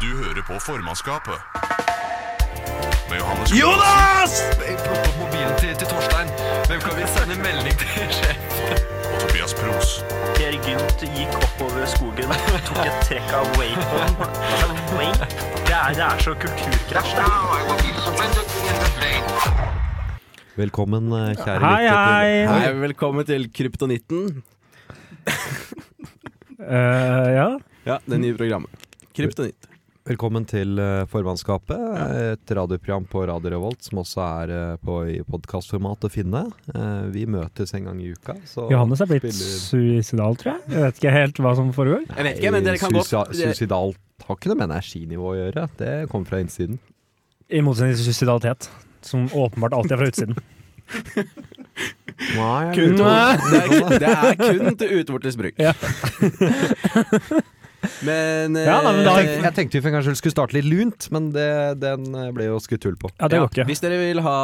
Du hører på formannskapet. Med Johannes Jonas! Plukk opp mobilen til, til Torstein. Hvem kan vi sende melding til? sjef? og Tobias Pros. Per Gynt gikk oppover skogen, tok et trekk av wapen. Altså, wake? Det er, det er så kulturkrasj, det. Velkommen, eh, kjære Hei, hei! Hei. lytter. til- Hei, velkommen til Kryptonitten. Eh, ja. Ja, det nye programmet. Kryptonitt. Velkommen til eh, formannskapet. Et radioprogram på Radio Revolt som også er eh, på i podkastformat å finne. Eh, Vi møtes en gang i uka. Så Johannes er blitt spiller- suicidal, tror jeg. Jeg vet ikke helt hva som foregår. Jeg vet ikke, men dere kan Suici- godt dere- Suicidalt har ikke noe med energinivå å gjøre. Det kommer fra innsiden. I motsetning til suicidalitet, som åpenbart alltid er fra utsiden. Nei, Kun- det, er, det er kun til utvortes bruk. Ja. men eh, Ja, nei, men da- Jeg, jeg tenkte vi for en gangs skyld skulle starte litt lunt, men det, den eh, ble jo skutt hull på. Ja, det ja, går ikke. Hvis dere vil ha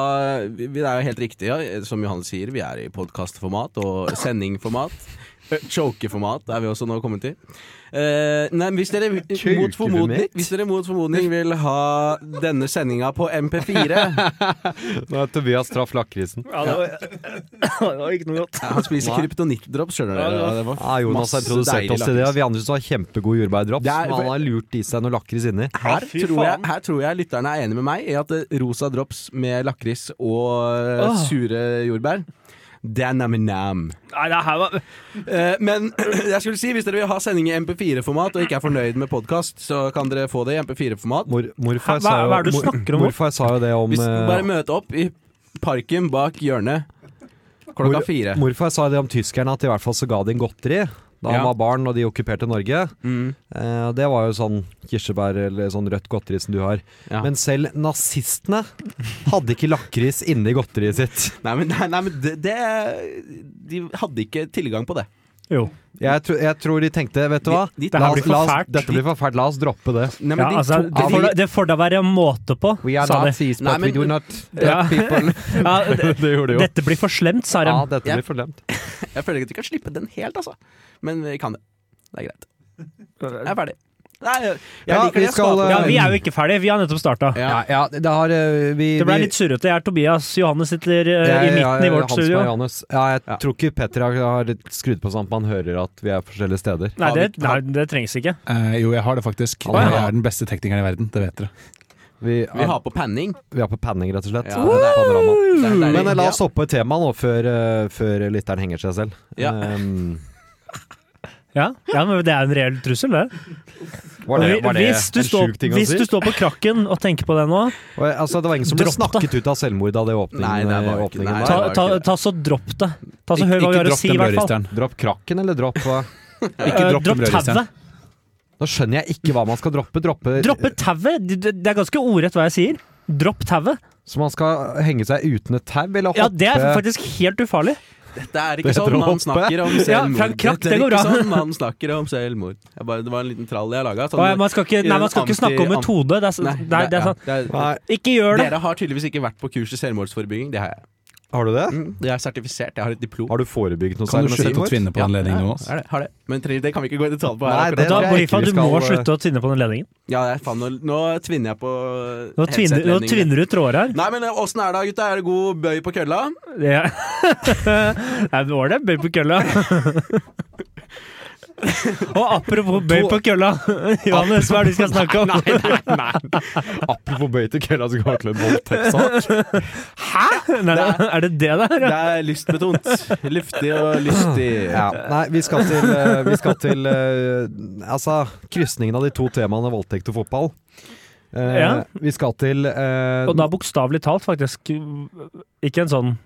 vi- Det er jo helt riktig, ja, som Johannes sier. Vi er i podkastformat og sendingformat. Ø, Chokeformat er vi også nå kommet til. Eh, nei, men hvis dere, mot formodning, Chokeformat? hvis dere mot formodning vil ha denne sendinga på MP4 Nå er Tobias traff lakrisen. Ja, det, var, det var ikke noe godt. Han spiser Nei. kryptonittdrops, skjønner dere. Ja, det var Ja, Ah, Jonas har masse introdusert deilig oss til det, lakris. og vi andre syntes det var kjempegod jordbærdrops. Det er- Men han har lurt i seg noe lakris inni. Her, fy tror jeg, faen. her tror jeg lytterne er enig med meg i at eh, rosa drops med lakris og eh, Åh. sure jordbær det er nam-nam. Nei, det her var Eh, men jeg skulle si hvis dere vil ha sending i MP4-format og ikke er fornøyd med podkast, så kan dere få det i MP4-format. Mor, morfar Hæ, hva- sa jo, hva er det du mor- snakker om nå? Morfar sa jo det om Hvis eh, Bare møte opp i parken bak hjørnet klokka mor- fire. Morfar sa jo det om tyskerne, at i hvert fall så ga de en godteri da han Ja. var barn og de okkuperte Norge. Eh, og det var jo sånn kirsebær eller sånn rødt godteri som du har. Ja. Men selv nazistene hadde ikke lakris inni godteriet sitt. Nei, men, nei, nei, men det, det De hadde ikke tilgang på det. Jo. Jeg, tro, jeg tror de tenkte, vet du hva De- de- Det her La oss- blir for la oss- fælt. Dette blir for fælt, la oss droppe det. Nei, men Ja, de altså, tok- det får da- det får da være måte på, We are sa de. Nazis, but Nei, men- we do not Ja. dead people. Ja, det, det gjorde de jo. dette blir for slemt, sa de. Ja, dette Ja. blir for slemt. Jeg føler ikke at vi kan slippe den helt, altså. Men vi kan det. Det er greit. Jeg er ferdig. Nei, jeg, jeg Ja, liker vi det. skal, Skal, eh, Ja, vi er jo ikke ferdig. Vi har nettopp starta. ja. Ja, ja det har eh, vi, Det ble vi- litt surrete. Jeg er Tobias. Johannes sitter eh, i midten i vårt Hans studio. Marianus. Ja, jeg tror ikke Petter har, har skrudd på sånn at man hører at vi er forskjellige steder. Nei, det, nei, det trengs ikke. Eh, jo, jeg har det faktisk. Å, ja. Jeg er den beste teknikeren i verden, det vet dere. Vi, Vi har på panning. vi er på panning, rett og slett. Ja, det er- Panorama. Det er deilig. Men eh, la oss hoppe i temaet nå, før, eh, før lytteren henger seg selv. Ja. Um, Ja, ja, men det er en reell trussel, det. var det, var det hvis du, en står, sjuk ting å hvis si? du står på krakken og tenker på det nå, Og, eh, altså, det var ingen som ble Dropp det. snakket ut av selvmord av det åpningen, Nei, det var ikke- åpningen nei. der. ta, det ta, var ikke det. ta så dropp det. Ta så Ik- hør hva vi har å si, i hvert fall. brødristeren. Dropp krakken, eller dropp hva? Ikke Eh, dropp den dropp brødristeren. tauet. Nå skjønner jeg ikke hva man skal droppe. Droppe, Droppe tauet! Det- Det det er ganske ordrett hva jeg sier. Dropp tauet. Så man skal henge seg uten et tau, eller hoppe? Ja, det er faktisk helt ufarlig. Dette er Det ikke sånn heter å man hoppe. snakker om Ja, selvmord. fra en krakk, Dette er det går ikke bra. sånn man snakker om selvmord. Jeg bare, det var en liten trall jeg laga. Og man skal ikke, nei, man skal ikke snakke om metode. Det er, Nei, så- nei, det er ja, sånn. det er- Nei, Ikke gjør det! Dere har tydeligvis ikke vært på kurs i selvmordsforebygging. Det har jeg. har du det? Jeg er sertifisert, jeg har et diplom. Har du forebygget noe Kan du særlig med slutte å selvmord? tvinne på en ledning nå? Ja, er det, har det. Men trenger- det kan vi ikke gå i detalj på her. Nei, akkurat. det Da, tror jeg ikke Brifa, vi du skal, må eh, slutte å tvinne på den ledningen. Ja, jeg- faen, nå, nå tvinner jeg på Nå tvinner, nå headset-ledningen. tvinner du tråder her. Nei, men eh, åssen er det, da, gutta? Er det god bøy på kølla? Det Nei, det var det. Bøy på kølla. Og apropos bøy på kølla, Johannes, hva er det vi skal snakke om? Apropos bøy til kølla, så går det til en voldtektssak. Nei, nei, er det det der? Det er lystbetont. Luftig og lystig. Ja. Nei, vi skal til, eh, vi skal til eh, Altså, krysningen av de to temaene voldtekt og fotball. Eh, Ja. Vi skal til eh, Og da bokstavelig talt, faktisk. eh, Ikke en sånn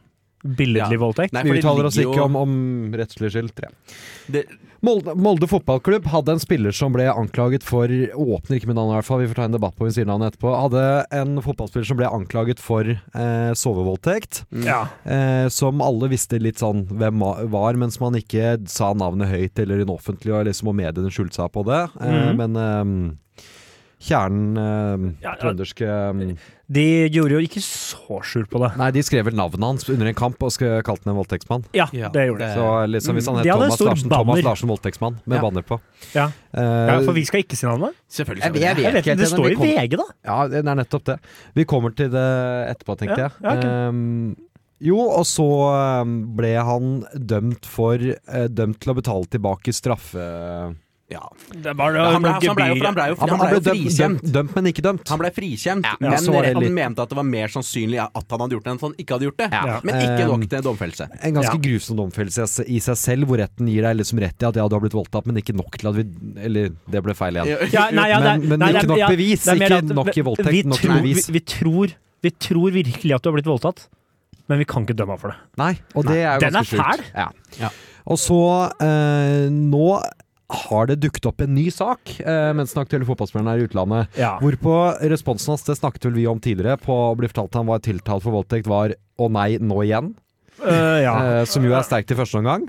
billedlig voldtekt. Nei, Vi for det uttaler oss ligger altså ikke jo- om, om rettslig skyld. Tre. Det, Molde, Molde fotballklubb hadde en spiller som ble anklaget for Åpner ikke med navnet, i hvert fall. Vi får ta en debatt på hvem sier navnet etterpå. Hadde en fotballspiller som ble anklaget for eh, sovevoldtekt. Ja. Eh, som alle visste litt sånn hvem ma- var, mens man ikke sa navnet høyt eller i den offentlige, og liksom og mediene skjulte seg på det. Eh, Mhm. Men eh, kjernen eh, Ja, ja. trønderske eh, De gjorde jo ikke så skjul på det. Nei, de skrev vel navnet hans under en kamp og sk- kalte han en voldtektsmann. Ja, Ja, det gjorde de. Så liksom hvis han Eh, De het hadde en Thomas stor Larsen, Thomas banner. Larsen voldtektsmann med Ja. banner på. Ja. Eh, Ja, for vi skal ikke si navnet? Selvfølgelig. jeg, jeg Jeg vet vet ikke ikke, helt Det ennå, vi står i kom- VG, da. Ja, det er nettopp det. Vi kommer til det etterpå, tenkte Ja, jeg. ja, ok. Ehm, jo, og så ehm, ble han dømt for eh, Dømt til å betale tilbake straffe... Ja. Det er bare Han ble, altså, han ble, jo- han ble, jo- Han, han ble ble jo dømt, dømt, frikjent. dømt, men ikke dømt. Han ble frikjent, Ja, men så var det han litt- mente at det var mer sannsynlig at han hadde gjort det enn at han ikke hadde gjort det. Ja. Men ikke Um, nok til domfellelse. En ganske Ja. grusom domfellelse i s- i seg selv, hvor retten gir deg liksom rett i at ja, du har blitt voldtatt, men ikke nok til at vi Eller, det ble feil igjen. Ja, nei, ja, det er- Men- men nei, ikke det er- nok ja, bevis, det er mer ikke at- nok i vi- voldtekt, vi nok i tror- bevis. Vi, vi, tror, vi tror virkelig at du har blitt voldtatt, men vi kan ikke dømme deg for det. Nei, og det er jo Den er ganske sjukt. fæl. Ja. Ja. Og så eh, Nå har det dukket opp en ny sak eh, mens den aktuelle fotballspilleren er i utlandet. Ja. Hvorpå responsen hans, det snakket vel vi om tidligere, på å bli fortalt han var tiltalt for voldtekt, var 'å nei, nå igjen'. Eh, ja. Eh, som jo er sterkt i første omgang.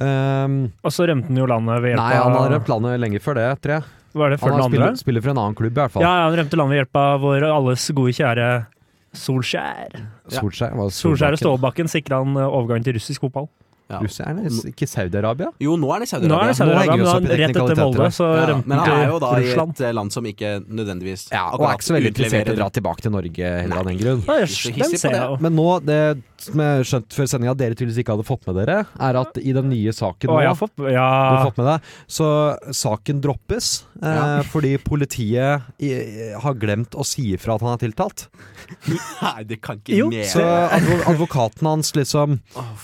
Ehm, Og så rømte han jo landet ved hjelp nei, han har av rømt landet lenge før det, tror jeg. Var det før Han den har andre? spiller, spiller for en annen klubb, i hvert fall. Ja, han rømte landet ved hjelp av vår alles gode kjære Solskjær. Solskjær, var det Solskjær og Solbakken? Stålbakken sikra han eh, overgang til russisk fotball. Ja. Russerne? Ikke Saudi-Arabia? Jo, nå er det Nå er det Saudi-Arabia. henger Saudi-Arabia, vi oss opp i men rett etter teknikaliteter Molde her. så Ja, rømte men han er jo da han til i Russland. et eh, land som ikke nødvendigvis Ja, og er ikke så veldig interessert i å utleverer- dra tilbake til Norge heller av den grunn. Ja, Ikke så jøss, hissig Den på ser det. jeg jo. Men nå, det som jeg skjønte før sendinga at dere tydeligvis ikke hadde fått med dere, er at i den nye saken Å, nå jeg har fått Ja. Ah. du har fått med deg, Så saken droppes eh, Ja. fordi politiet i, har glemt å si ifra at han er tiltalt. Nei, det kan ikke Jo, ned. Så advo advokaten hans liksom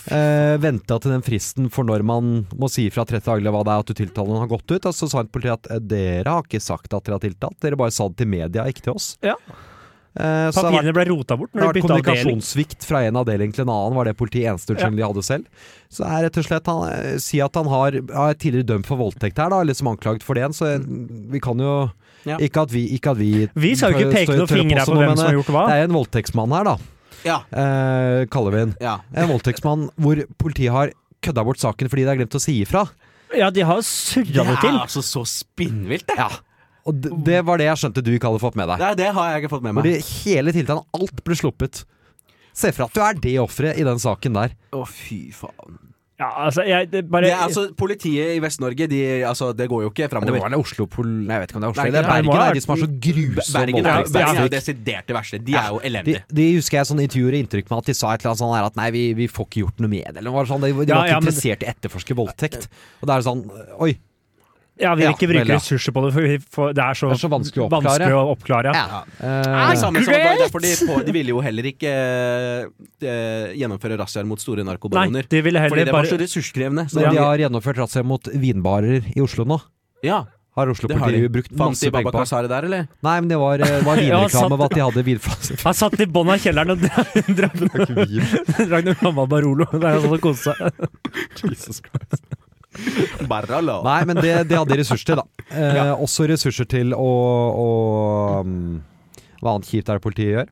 eh, venta til den fristen for når man må si ifra 30 dager eller hva det er at du tiltaler noen har gått ut. Og så sa han til politiet at eh, dere har ikke sagt at dere har tiltalt, dere bare sa det til media, ikke til oss. Ja. Eh, så det har vært Papirene ble rota bort Det når har de vært bytta avdeling. kommunikasjonssvikt fra en avdeling til en annen, var det politiet eneste unnskyldning de hadde selv. Så det er rett og slett han, eh, Si at han har ja, er tidligere dømt for voldtekt her, da, eller som anklaget for det igjen, så eh, vi kan jo Ja. Ikke at vi ikke at vi, Vi skal jo ikke tør- peke tør- noen tør å fingre her påstå på noe, hvem men, som har gjort hva. eh, Det er en voldtektsmann her, da, Ja, eh, kaller vi han. ja. En voldtektsmann hvor politiet har kødda bort saken fordi de har glemt å si ifra. Ja, de har Det surra det er til. altså så spinnvilt, det. Og det, det var det jeg skjønte du ikke hadde fått med deg. Nei, det har jeg ikke fått med meg. Fordi hele tiltalen, alt ble sluppet. Se for deg at du er det offeret i den saken der. Å, fy faen. Ja, altså, jeg det bare Det er altså Politiet i Vest-Norge, de, altså, det går jo ikke framover. være Oslo Nei, jeg vet ikke om det er Nei, Nei, det er det Bergen må ha er de som har så grusom Bergen er, voldtektsstatistikk. Bergen er jo desidert det verste. De er jo De, elendige. de husker jeg sånn intervjuer inntrykk med at de sa et eller annet sånn her at nei, vi, vi får ikke gjort noe med det. Eller noe sånt. De, de Ja, var ikke ja, men- interessert i å etterforske voldtekt. Og da er det sånn Oi. Ja, vi vil Ja, ikke bruke vel, ja. ressurser på det, for, vi får- det er så, Det er så vanskelig å oppklare. vanskelig å oppklare, ja. Ja. Eh, Det er samme som det var Greit! derfor de, på, de ville jo heller ikke eh, gjennomføre razziaer mot store Nei, narkobaroner. de ville Fordi heller det var så bare ressurskrevende. Så så de- de har gjennomført razzia mot vinbarer i Oslo nå. ja, Har Oslo det har politiet de. brukt Fant masse de Baba penger på? Kazari der, eller? Nei, men det var, eh, var Ja, sant. vinreklame av at de hadde vinflasker. Han satt i bånn av kjelleren og drakk drakk noe gammel Barolo. Det er sånn å kose seg. Baralo. Nei, men det, det hadde de ressurser til, da. Eh, Også ressurser til å, å um, Hva annet kjipt er det politiet gjør?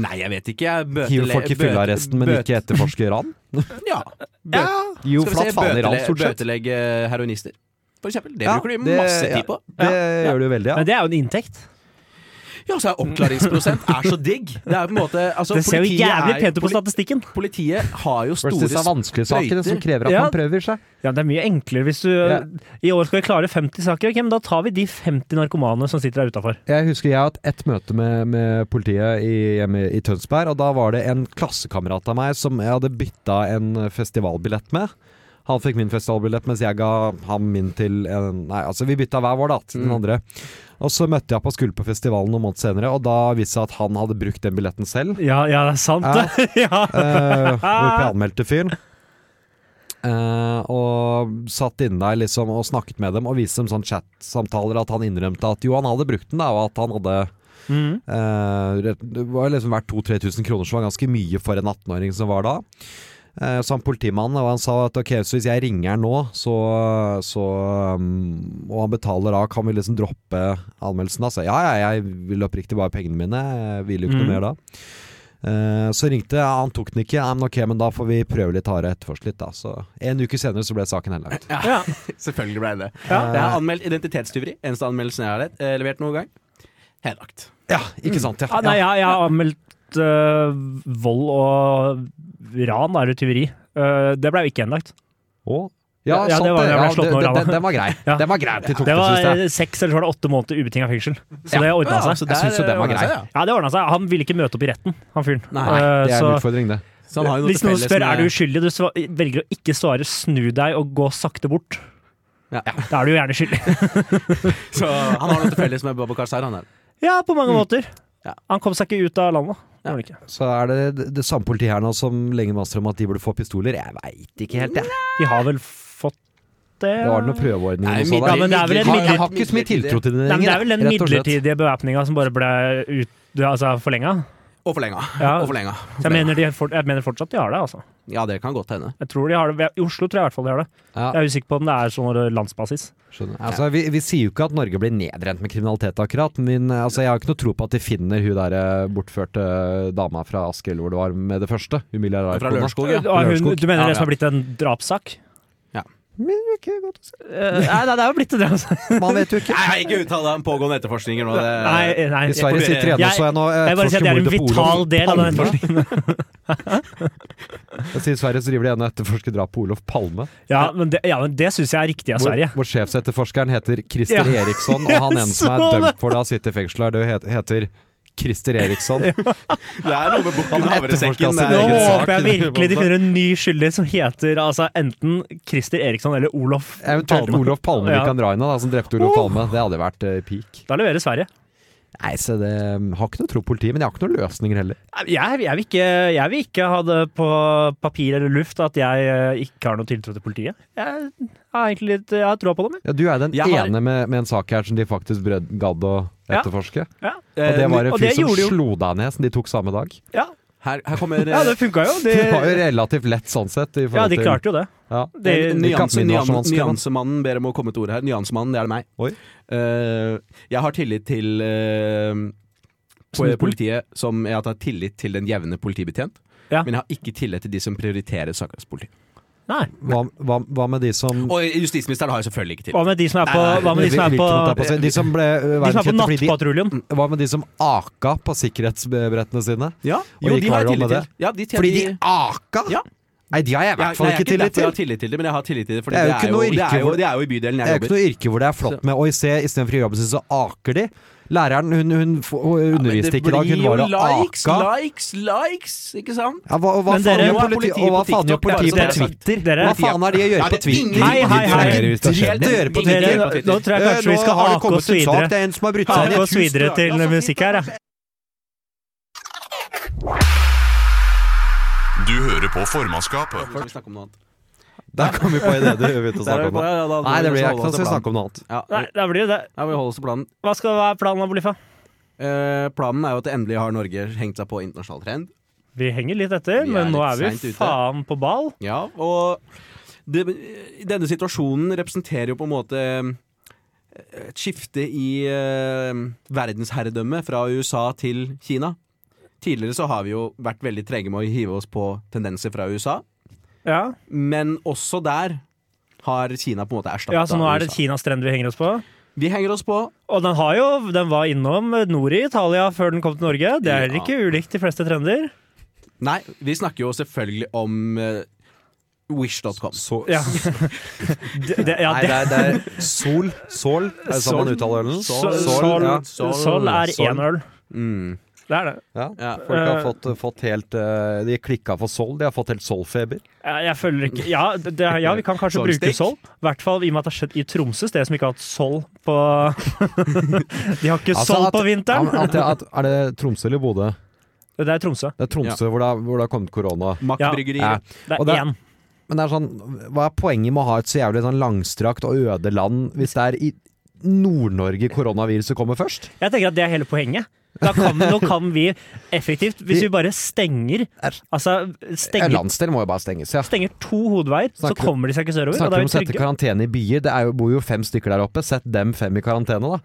Nei, jeg vet ikke. Jeg bøtele- Hiver folk i bøte- fyllearresten, men bøte- ikke etterforsker ran? Ja. Jo, Skal vi flatt se, faen i ran, bøtele- stort sett. Bøtelegge heroinister, for eksempel. Det Ja, bruker de det- masse ja. tid på. Det gjør du jo veldig, ja. Men det er jo en inntekt. Ja, så er oppklaringsprosent er så digg. Det er på en måte altså, Det ser jo politiet jævlig er- pent ut på poli- statistikken. Politiet har jo store Versus av vanskelige sakene som krever at Ja. man prøver seg. Ja, Det er mye enklere hvis du Ja. I år skal vi klare 50 saker, ok, men da tar vi de 50 narkomane som sitter der utafor. Jeg husker jeg har hatt ett møte med, med politiet i, hjemme i Tønsberg, og da var det en klassekamerat av meg som jeg hadde bytta en festivalbillett med. Han fikk min festivalbillett, mens jeg ga ham min til en Nei, altså, vi bytta hver vår, da, til den andre. Og så møtte jeg på Skuld på festivalen noen måneder senere, og da viste det seg at han hadde brukt den billetten selv. Ja, ja, det er sant, Ja. det. Ja. Eh, Hvorpå jeg anmeldte fyren. Eh, og satt inne der liksom og snakket med dem og viste dem sånn chat-samtaler at han innrømte at jo, han hadde brukt den, da, og at han hadde Mm. eh, rett- Det var liksom verdt 2000-3000 kroner, som var ganske mye for en 18-åring som var da. Eh, så han politimannen og han sa at ok, så hvis jeg ringer han nå, så, så um, og han betaler da, kan vi liksom droppe anmeldelsen da? Så jeg, ja, ja, jeg vil oppriktig bare pengene mine, jeg vil jo ikke Mm. noe mer da. Eh, så ringte jeg, han tok den ikke, ja, men ok, men da får vi prøve litt hardere etterforske litt da. Så en uke senere så ble saken henlagt. Ja. Selvfølgelig ble det det. Ja. Jeg har anmeldt identitetstyveri. Eneste anmeldelsen jeg har lett- eh, levert noen gang. Henlagt. Ja, ikke sant? Ja, Ah, nei, jeg, jeg har anmeldt øh, vold og ran, er det tyveri. Øh, det ble jo ikke henlagt. Å. Ja, Ja, det sant var- jeg ble slått det- nå, det- Rama. Den, den var grei. Ja. Den var grei til Det Tokyo, var syns jeg. eh, seks eller så var det åtte måneder ubetinga fengsel. Så det ordna Ja, seg. så Jeg syns jo der, den var eh, grei. ordnet seg, Ja, det ordnet seg. Han ville ikke møte opp i retten, han fyren. Nei, Eh, Det er en så utfordring, det. Så han har jo noe hvis til noen felles spør er du med- uskyldig, du sva- velger å ikke svare, snu deg og gå sakte bort. Ja. Da er du jo gjerne skyldig. så Han har noe til felles med Babakar Sar, han der. Ja, på mange måter. Mm. Ja. Han kom seg ikke ut av landet. Ja. Gjorde han ikke. Så er det det, det samme politiet her nå som lenge maser om at de burde få pistoler. Jeg veit ikke helt, jeg. De har vel fått det Det var noen prøveordninger Nei, og sånn. midler- der. men det er vel en Jeg har- midler- Jeg har ikke så mye tiltro til den Nei, men det er vel den rett og slett. midlertidige bevæpninga som bare ble ut, altså, forlenga. Og forlenga. Ja. Og forlenga. Jeg mener, de, for, jeg mener fortsatt de har det, altså. Ja, det kan godt hende. Jeg tror de har det. I Oslo tror jeg i hvert fall de har det. Ja. Jeg er usikker på om det er sånn landsbasis. Skjønner. Altså, vi, vi sier jo ikke at Norge blir nedrent med kriminalitet, akkurat. Men altså, jeg har ikke noe tro på at de finner hun der eh, bortførte dama fra Asker, eller hvor det var, med det første. Hun Fra milliardærkona. Lørenskog, ja. Ja, hun, Lørenskog. du mener Ja, det som ja. har blitt en drapssak? Eh, nei, nei, det er jo blitt det, altså. Man vet jo ikke. Nei, ikke uttal deg om pågående etterforskninger nå. Det... Nei, nei. I Sverige jeg- sitter igjen, jeg- og så jeg nå eh, Jeg bare sier at det er en vital etterforsker mordet på Olof del av den Palme. etterforskningen. Jeg sier I Sverige så driver de igjen og etterforsker drap på Olof Palme. Ja, men det, ja, men det syns jeg er riktig av Hvor, Sverige. hvor sjefsetterforskeren heter Christer Ja. Eriksson, og han ene som er så det. dømt for det, har sittet i fengsel her, det het- heter Christer Eriksson. Det er noe med bukken og etterforsker havresekken. sin Nå det er egen sak. håper jeg virkelig de finner en ny skyldig som heter altså, enten Christer Eriksson eller Olof Eventuelt Palme. Olof Palme vi Ja. kan dra inn av, da, som drepte Olof Oh. Palme. Det hadde vært eh, peak. Da leverer Sverige. Nei, så det um, har ikke noe tro på politiet, men jeg har ikke noen løsninger heller. Jeg, jeg, vil ikke, jeg vil ikke ha det på papir eller luft at jeg eh, ikke har noe tiltro til politiet. Jeg har egentlig litt Jeg har troa på dem. jeg. Ja, du er den Jeg har- ene med, med en sak her som de faktisk brød, gadd å Ja. etterforske. Ja. Og det var en Eh, og fyr det som gjorde jo- slo deg ned, som de tok samme dag. Ja, Her, her kommer eh, ja det funka jo. De, eh, Det var jo relativt lett sånn sett. I Eh, ja, forhold de til- klarte jo det. Ja. det Eh, Ikke at nyanse, min var så nyan, vanskelig, da. Nyansemannen ber om å komme et ord her. Nyansemannen, det er det meg. Oi. Eh, jeg har tillit til eh, po- Snusbolig. politiet som Jeg har tillit til den jevne politibetjent. Ja. Men jeg har ikke tillit til de som prioriterer Sakkars-politi. Nei. Hva, hva, hva med de som Og justisministeren har jeg selvfølgelig ikke tillit. Hva med de som er på, Nei, nei, hva med de som er Hvilken på, måte er på seg? De som ble eh, de som er på verdenskjente fordi de- nattpatruljen? Hva med de som aka på sikkerhetsbrettene sine? Ja, Og jo, gikk de har viral jeg med tillit til. det. Ja, de, Fordi de aka?! Ja. Nei, de har jeg i hvert fall nei, jeg er ikke tillit derfor Jeg til. har tillit til det, men jeg har tillit til det. Fordi Det er jo det, ikke er jo, noe det, yrke er jo, hvor- det er jo i bydelen Det er jo jeg ikke jobber. noe yrke hvor det er flott med Oi, se, istedenfor å jobbe sin, så aker de. Læreren hun, hun, f- hun underviste ikke i dag, hun var og likes, aka. likes, likes, ikke sant? Ja, hva, og hva Men faen dere- gjør Nå er politi, politiet og hva på faen gjør TikTok, politiet på det er det jeg har Twitter? Dere- Hva faen har de å Ja, gjøre på det er Twitter? ingen- Hei, hei, hei. Dritt å gjøre på Ingen- Twitter. Dere, Eh, nå tror jeg kanskje vi skal har det hake kommet oss ut sak, videre. det er en som har brutt seg Hake inn i oss videre til musikk her. ja. Du hører på formannskapet. Skal vi snakke om noe annet? Der kom vi på en idé du begynte å snakke om. nå. Nei, det blir jeg ikke, da skal vi snakke om noe annet. Ja, Nei, da blir det det. ja, vi holder oss til planen. Hva skal være planen, Abolifa? Eh, planen er jo at endelig har Norge hengt seg på internasjonal trend. Vi henger litt etter, Vi er men nå litt er sent vi ute. faen på ball. Ja, og det, denne situasjonen representerer jo på en måte eh, et skifte i eh, verdensherredømme fra USA til Kina. Tidligere så har vi jo vært veldig trege med å hive oss på tendenser fra USA, Ja, men også der har Kina på en måte erstatta ja Så nå er det USA. Kinas trend vi henger oss på. Vi henger oss på. Og den, har jo, den var innom nord i Italia før den kom til Norge. Det er Ja. ikke ulikt de fleste trender. Nei, vi snakker jo selvfølgelig om eh, Wish.com. Ja, det, det, ja, Nei, det, det er, det er Sol. Sol, er det sånn man uttaler ølen? Sol. Sol. ja. Sol er Sol. én øl. Mm. Det er det. Ja. Ja. Folk har Eh. fått, fått helt eh, De klikka for Sol, de har fått helt Sol-feber. Jeg, jeg føler ikke ja, det, det- ja, vi kan kanskje Solstikk. bruke Sol. I hvert fall i og med at det har skjedd i Tromsø, stedet som ikke har hatt Sol på De har ikke Altså, Sol at- på vinteren! Ja, men at, at, er det Tromsø eller Bodø? Det er Tromsø. Det er Tromsø hvor, det, har- hvor det har kommet korona. Mack Ja. Bryggeri. Ja. Det Og er det- én. Men det er sånn, hva er poenget med å ha et så jævlig sånn langstrakt og øde land hvis det er i Nord-Norge koronaviruset kommer først? Jeg tenker at det er hele poenget. Da kan, nå kan vi effektivt, hvis vi bare stenger Altså En stenger, landsdel må jo bare stenges, ja. stenger to hovedveier, så Snakker- kommer de seg ikke sørover. Og da Snakker er om å vi sette trygge. karantene i byer. Det er jo, bor jo fem stykker der oppe. Sett dem fem i karantene, da.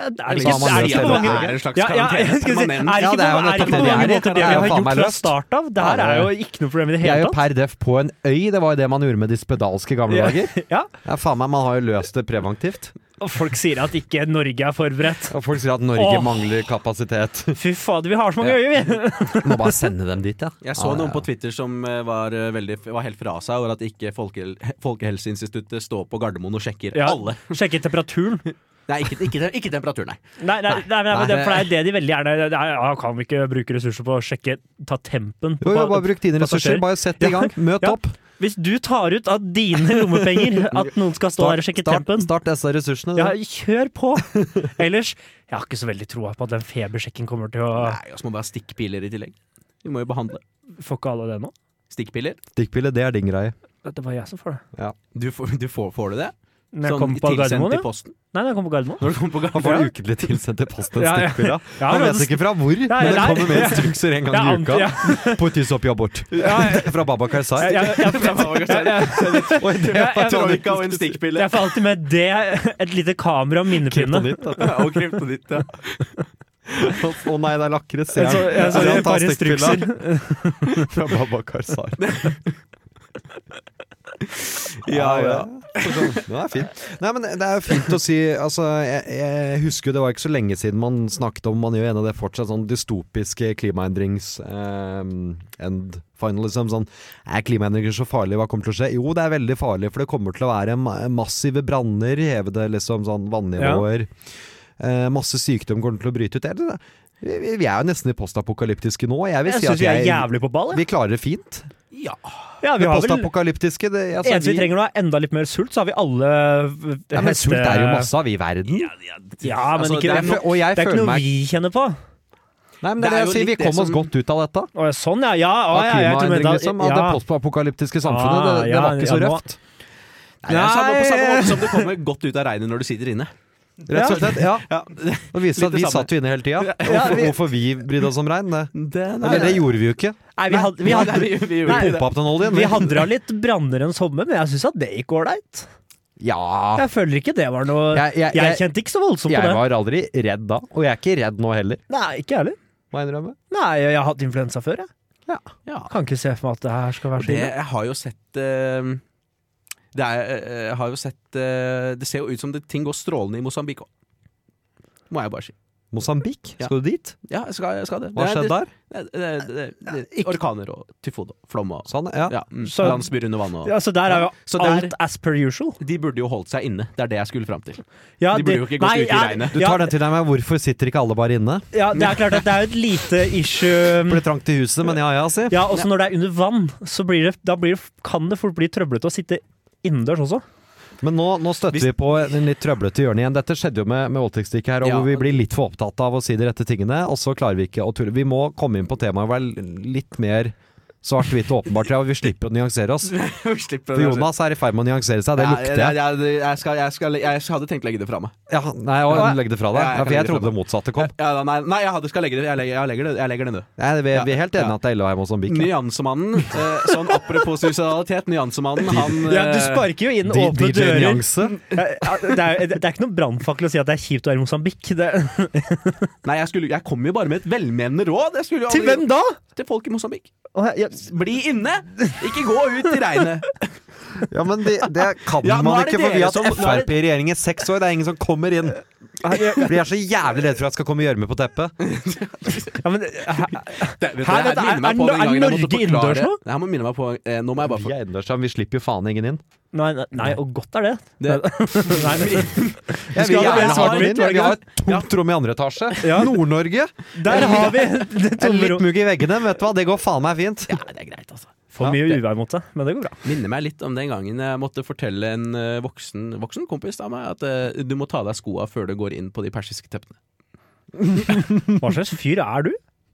Er det sånn Så ikke, har man er det ikke løst hele for mange det en slags Ja, ja, karantene? jeg skulle si, Er det Permanent? Ja, ikke det er jo for- er det ikke nettopp for det mange måter det er. det Det er vi jo har faen gjort meg fra løst. start av? Det her Ja, er det jo ikke noe problem i det Jeg er hele jo tatt. per def på en øy, det var jo det man gjorde med de spedalske i gamle dager. Ja, Ja, faen meg, Man har jo løst det preventivt. og folk sier at ikke Norge er forberedt. Og folk sier at Norge Åh. mangler kapasitet. Fy fader, vi har så mange øyer, vi! Må bare sende dem dit, Ah, ja. Jeg så noen på Twitter som eh, var, eh, veldig, var helt fra seg over at ikke Folkehel Folkehelseinstituttet står på Gardermoen og sjekker Ja. alle. Sjekke temperaturen. Nei, ikke, ikke, ikke temperaturen, nei. Nei, nei, nei, nei, men det, for det er det de veldig gjerne det er, ja, Kan vi ikke bruke ressurser på å sjekke Ta tempen? Jo, jo, på- bare bruk dine passasjerer. ressurser. Bare sett det i gang. Møt Ja. opp. Hvis du tar ut av dine lommepenger at noen skal stå der og sjekke start, tempen start disse ressursene. ja, da. kjør på! Ellers Jeg har ikke så veldig troa på at den febersjekken kommer til å Nei, Og så må vi ha stikkpiler i tillegg. Vi må jo behandle. Får ikke alle det nå? Stikkpiler? Stikkpille, det er din greie. Det var jeg som får det. Du får, du får, får du det? Sånn Når Sånn jeg kom på Gardermoen, i ja. posten? Nei, når jeg kom på Gardermoen. Når du kommer på Han får Gardermoen? ukentlig tilsendt i posten Ja, ja. stikkpilla. Ja, Han men vet det- ikke fra hvor, men det nei. kommer med instrukser en gang i Jeg uka. ante- Puttes opp, ja bort. Fra Baba Jeg, Karzai. jeg, jeg, jeg, Oi, det jeg- var jeg- Troika og en stikkpille. jeg får alltid med det, et lite kamera og minnepinne. kryptonitt, da. Ja, og kryptonitt, ja. Å nei, det er lakris. Jeg så, jeg så et par instrukser. fra Baba Karzai. Ja, ja. sånn, Det er fint. Nei, men det er jo fint å si altså, jeg, jeg husker jo det var ikke så lenge siden man snakket om Man gjør en av det fortsatt sånn dystopiske klimaendrings ehm, end finalism. Sånn Er klimaendringer så farlig? Hva kommer til å skje? Jo, det er veldig farlig, for det kommer til å være ma- massive branner, hevede liksom sånn vannivåer. Eh, masse sykdom kommer til å bryte ut. Eller, vi, vi er jo nesten i postapokalyptiske nå. Jeg vil Jeg si syns at vi er jeg, jævlig på ball. jeg. vi klarer det fint. ja. Ja, vi Det har vel postapokalyptiske det, altså, Eneste vi trenger nå, er enda litt mer sult, så har vi alle eh, ja, men sult er jo masse av i verden. Ja, men Altså, ikke det det, er er no- no, og jeg det er ikke føler noe meg- vi kjenner på. Nei, men det, er Det er det jeg jo sier, vi litt det kom oss som- godt ut av dette. Å, ja, sånn, ja. Ja, å, Av ja, jeg tror- men klimaendring, da- liksom. Av det ja. postapokalyptiske samfunnet. Det, det Ah, var ikke ja, så ja, nå- røft. Nei, det er samme, på samme Nei. måte som du kommer godt ut av regnet når du sitter inne. Rett og slett. Ja. Ja. Det viser Litt at vi det samme. satt jo inne hele tida. Ja, Hvorfor, vi- hvorfor vi brydde oss om regn? Det, Det, Eller, det gjorde vi jo ikke. Nei, vi hadde, vi hadde, vi, vi gjorde Nei, ikke det. Pumpa opp den oljen. vi vi. hadde da litt branner en sommer, men jeg syns at det gikk ålreit. Ja. Jeg føler ikke det var noe Jeg, jeg, Jeg jeg, kjente ikke så voldsomt på jeg det. var aldri redd da, og jeg er ikke redd nå heller, Nei, ikke jeg heller. må jeg innrømme. Nei, jeg har hatt influensa før, jeg. Ja. Kan ikke se for meg at det her skal være Og så det, ille. jeg har jo sett eh, det, er, eh, jeg har jo sett eh, det ser jo ut som det, ting går strålende i Mosambik òg. Må jeg bare si. Mosambik, Ja. skal du dit? Ja, jeg skal, jeg skal det. Hva Det er- skjedde der? Det, det, det, det, det, Ikke- orkaner og tyfon og flom og Sånn, ja. ja, mm, Så- landsbyer under vann og Ja, så der er jo Så der- alt as per usual. De burde jo holdt seg inne. Det er det jeg skulle fram til. Ja, De burde jo ikke gått nei, ut i ja, regnet. Du ja, tar den til deg med 'hvorfor sitter ikke alle bare inne'? Ja, det er klart at det er jo et lite issue Ble trangt i huset, men ja ja, si. Ja, også når det er under vann, så blir det, da blir det, kan det fort bli trøblete å sitte innendørs også. Men nå, nå støtter vi Hvis- på en litt trøblete hjørne igjen. Dette skjedde jo med, med voldtektsstikket her, og Ja. hvor vi blir litt for opptatt av å si de rette tingene, og så klarer vi ikke å tulle. Vi må komme inn på temaet og være litt mer svart-hvitt og åpenbart, ja, og vi slipper å nyansere oss. For Jonas er i ferd med å nyansere seg, det lukter jeg. jeg. Jeg, skal, jeg, skal, jeg hadde tenkt å legge det fra meg. Ja, nei, å, legg det fra deg. Ja, jeg Ja, kan for jeg legge det fra trodde det motsatte kom. Ja, da, nei, nei, jeg hadde, skal legge det. Jeg legger, jeg legger det, jeg legger det ned. Nei, vi, vi er helt Ja. enige at det er Eloheim og Mosambik. ja. Nyansemannen, eh, sånn apropos suicidalitet, nyansemannen, han eh, Ja, du sparker jo inn D- åpne DJ dører. Nyanse. Ja, ja, Det er, det er ikke noen brannfakkel å si at det er kjipt å være i Mosambik. Det, Nei, jeg, skulle, jeg kom jo bare med et velmenende råd. Jeg skulle jo aldri- da? Til folk i Mosambik. Å, ja, Bli inne! Ikke gå ut i regnet. Ja, men det, det kan Ja, nå man er det ikke, for vi dere har som- hatt nå er det- Frp i regjering i seks år. Det er ingen som kommer inn. For de er så jævlig redde for at det skal komme gjørme på teppet. ja, men, her, Det, vet du, Her, det dette- her minner meg er- på er- den er gangen jeg måtte Norge forklare- innendørs nå? Det her må minne meg på eh, Nå må jeg bare Vi er innendørs, men vi slipper jo faen ingen inn. nei, nei, nei, og godt er det. Det- Nei, men, skal Jeg vil ha det gjerne ha svart den hvitt, var det inn. Jeg vil ha ikke et tomt rom i andre etasje. Ja. Nord-Norge. der har vi det Det er Litt tomrom. mugg i veggene, vet du hva. Det går faen meg fint. Ja, det er greit, altså. For mye uvær mot seg, men det går bra. Minner meg litt om den gangen jeg måtte fortelle en eh, voksen, voksen kompis av meg at eh, du må ta av deg skoa før du går inn på de persiske teppene. Hva slags fyr er du?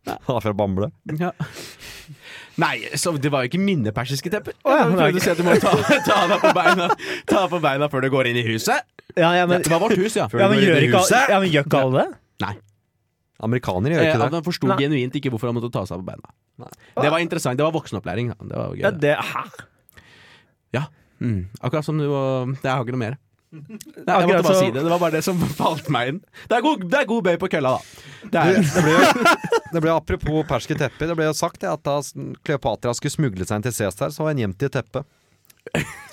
Han er fra Bamble. Nei, så det var jo ikke mine persiske tepper. Å, ja, Jeg nei. prøvde å si at du må ta, ta, deg på beina, ta deg på beina før du går inn i huset. Ja, ja, men, Det var vårt hus, ja. ja, men, gjør, ikke, alle- ja, men gjør ikke alle det? Amerikanere gjør Eh, ikke at det. han forsto Nei. genuint ikke hvorfor han måtte ta seg på beina. Nei. Det var interessant. Det var voksenopplæring. da. Det var jo gøy. Ja, det. det, hæ? Mm. Akkurat som du og Jeg har ikke noe mer. Nei, jeg måtte Akkurat bare så- si det. Det var bare det som falt meg inn. Det er god, det er god bøy på kølla, da. Det er, Det ble jo det ble, Apropos perske tepper, det ble jo sagt det, at da Kleopatra skulle smugle seg inn til Cæsar, så var hun gjemt i et teppe.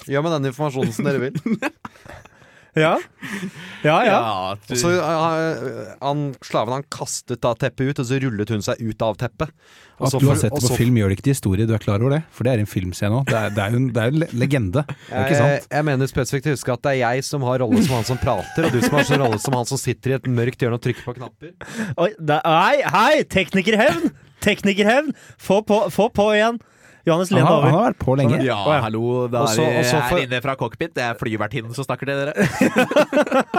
Gjør med den informasjonen som dere vil. Ja, ja. ja. Ja, du- Og så eh, han, Slaven han kastet da teppet ut, og så rullet hun seg ut av teppet. Og At så du har for- sett og det på så- film, gjør det ikke til historie. Du er klar over det? For det er en filmscene òg. Det er, det er jo en, det er en le- legende. Det er ikke Jeg, sant? jeg mener spesifikt å huske at det er jeg som har rolle som han som prater, og du som har sånn rolle som han som sitter i et mørkt hjørne og trykker på knapper. Oi, da, hei, hei! Teknikerhevn! Teknikerhevn! Få på, få på igjen! Johannes, Han len har, han over. har vært på lenge. ja, hallo, da Også- er vi også for- her inne fra cockpit. Det er flyvertinnen som snakker til dere.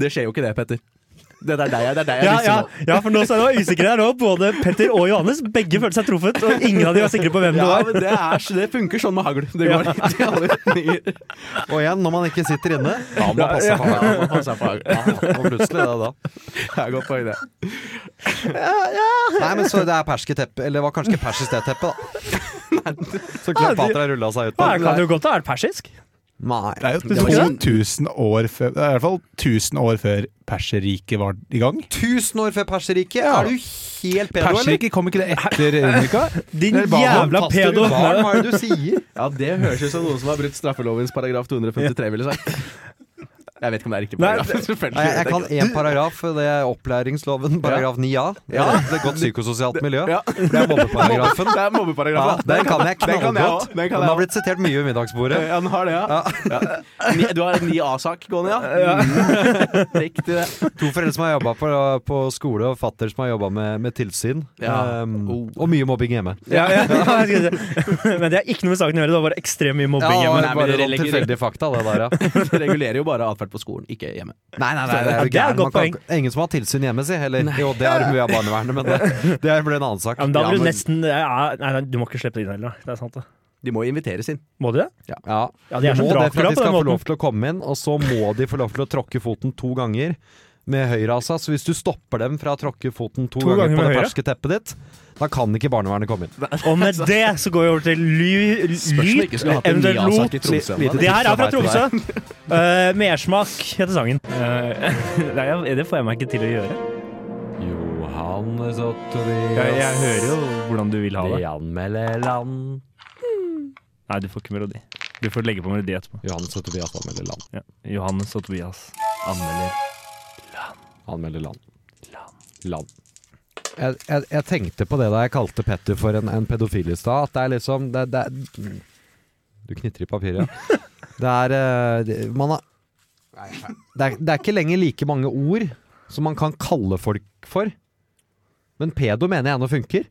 det skjer jo ikke det, Petter. Det er deg, det er deg jeg Ja, lyser ja, på. ja, for nå så er det usikre her nå. Både Petter og Johannes. Begge følte seg truffet, og ingen av de var sikre på hvem det Ja, var. men det, er, det funker sånn med hagl. Det går litt i alle retninger. Og igjen, når man ikke sitter inne, da må man passe Ja, på man det. må passe på hagl. Ja, Og plutselig det da. det er godt poeng, det. Nei, men så det er perske teppe, eller det var kanskje ikke persisk det teppet, da. Så Kleopatra rulla seg Ja, ut på. det kan jo godt ha vært persisk. Det Nei. er jo 2000 år før Det er i hvert fall 1000 år før Perserriket var i gang. Tusen år før Perserriket! Er du helt pedo, eller? Perserriket kom ikke det etter Unika? Din Det er bare jævla Fantastisk pedo! barn, Hva er det du sier? Ja, det høres ut som noen som har brutt straffelovens paragraf 253, ville jeg sagt. Jeg vet ikke om det er riktig Nei, paragraf. selvfølgelig. Nei, jeg kan én paragraf. Det er opplæringsloven, paragraf 9a. Det er det er godt psykososialt miljø. Ja. Det er mobbeparagrafen. Det er Ja, mobbeparagrafen. den kan jeg Den kan jeg knallgodt. også, den Den kan jeg har også. blitt sitert mye ved middagsbordet. Ja, den har det, ja. ja. Ni- Du har en 9A-sak gående, ja? Mm. Riktig, det. To foreldre som har jobba på, på skole, og fatter som har jobba med, med tilsyn. Ja. Ehm, Oh. og mye mobbing hjemme. Ja, ja, ja, jeg skulle si. Men det er ikke noe med saken å gjøre. Det var bare ekstremt mye mobbing. Ja, hjemme. det var nei, men bare det noen legger- tilfeldige fakta, det der, ja. Det regulerer jo bare atferd på skolen, ikke hjemme. Nei, nei, nei, det Ja, er det jo er et gærent. Man godt kan ikke- Ingen som har tilsyn hjemme, si. Eller jo, det har vi av barnevernet, men det, det blir en annen sak. Ja, men da Ja, blir du men- nesten ja, Nei, nei, du må ikke slippe det inn heller. da. Det er sant, det. De må jo inviteres inn. Må du det? Ja. Ja, de er må som Dracula det for at på de skal den få måten. lov til å komme inn, og så må de få lov til å tråkke foten to ganger med høyre, altså. Så hvis du stopper dem fra å tråkke foten to, To ganger, ganger på med det høyre? ferske teppet ditt, da kan ikke barnevernet komme inn. Og med det så går vi over til ly- Spørs om lyd, ikke skulle hatt en eventuelt lot. 9A-sak i Tromsø. Lite- men- Det her er fra Tipset meg Tromsø. Eh, Mersmak heter sangen. Eh, nei, jeg- det får jeg meg ikke til å gjøre. Johannes og Jeg, Tobias jeg hører jo hvordan du vil ha det. anmelder land. Nei, du får ikke melodi. Du får legge på melodi etterpå. Johannes og Tobias anmelder land. Ja. Johannes og Tobias anmelder. Anmelder land. Land. Jeg, jeg, jeg tenkte på det da jeg kalte Petter for en, en pedofil i stad. At det er liksom det, det er, Du knitrer i papiret, ja. Det er eh, det- Man har det er, det er ikke lenger like mange ord som man kan kalle folk for. Men pedo mener jeg ennå funker.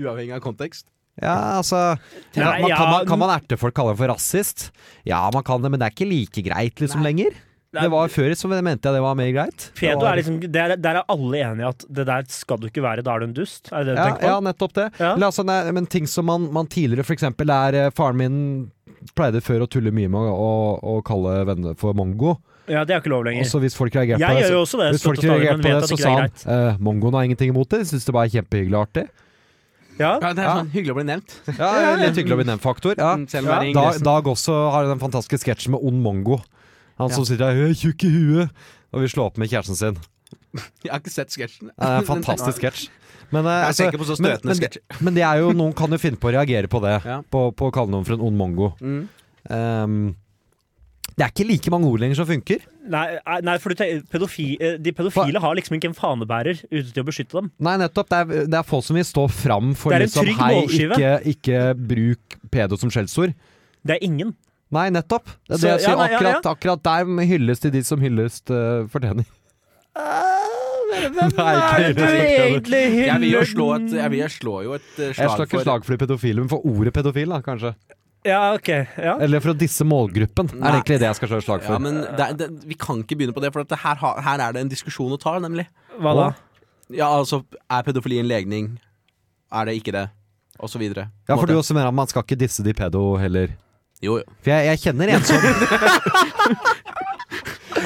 Uavhengig av kontekst. Ja, altså ja, Nei, man, kan, ja, man, kan man erte folk kalle dem for rasist? Ja, man kan det, men det er ikke like greit liksom lenger. Det var Før så mente jeg det var mer greit. Det Pedo var- er liksom Der, der er alle enige at det der skal du ikke være, da er du en dust. Er det det du ja, tenker på? ja, nettopp det. Ja. Eller, altså, nei, men ting som man, man tidligere for eksempel er eh, Faren min pleide før å tulle mye med å, å, å kalle venner for mongo. Ja, det er ikke lov lenger. Og så hvis folk reagerte jeg på det, gjør jo så, også det, hvis folk støtt og stadig, reagerte men på vet det, at så ikke sa det er han greit. eh, mongoen har ingenting imot det, syns det bare er kjempehyggelig og artig. Ja, Ja, det er sånn hyggelig å bli nevnt. Ja, Litt hyggelig å bli nevnt faktor. Ja. Mm, selv om det er i Da, ingressen. Dag også har den fantastiske sketsjen med ond mongo. Han som sitter der «Jeg er tjukk i huet og vil slå opp med kjæresten sin. Jeg har ikke sett sketsjen. Det er en fantastisk sketsj. Men, eh, Jeg altså, tenker på så men- støtende men, sketsjer. men det er jo, noen kan jo finne på å reagere på det. Ja. På, på å kalle noen for en ond mongo. Mm. Ehm, det er ikke like mange ord lenger som funker. Nei, eh, nei for du tenker, pedofi, eh, de pedofile har liksom ikke en fanebærer ute til å beskytte dem. Nei, nettopp. Det er, det er få som vil stå fram for Det er en liksom trygg Hei, målskive. ikke, ikke bruk pedo som skjellsord. Det er ingen. Nei, nettopp. Det, er Så- det jeg ja, sier, nei, ja, ja. akkurat, akkurat der hylles til de som hylles eh, fortjener. Hvem Ah, er det du egentlig Jeg vil jo slå et, jeg vil slå jo et eh, Jeg slår slag ikke for slag for de pedofile, men for ordet pedofil, da, kanskje. Ja, ok. Ja. Eller for å disse målgruppen, er Nei. det egentlig det jeg skal slå et slag for. Ja, men det, er- det, vi kan ikke begynne på det, for at det her, har- her er det en diskusjon å ta, nemlig. Hva da? Ja, altså, er pedofili en legning? Er det ikke det? Og så videre. Ja, for Måte. du også mener at man skal ikke disse de pedo heller. Jo, jo. For jeg, jeg kjenner en som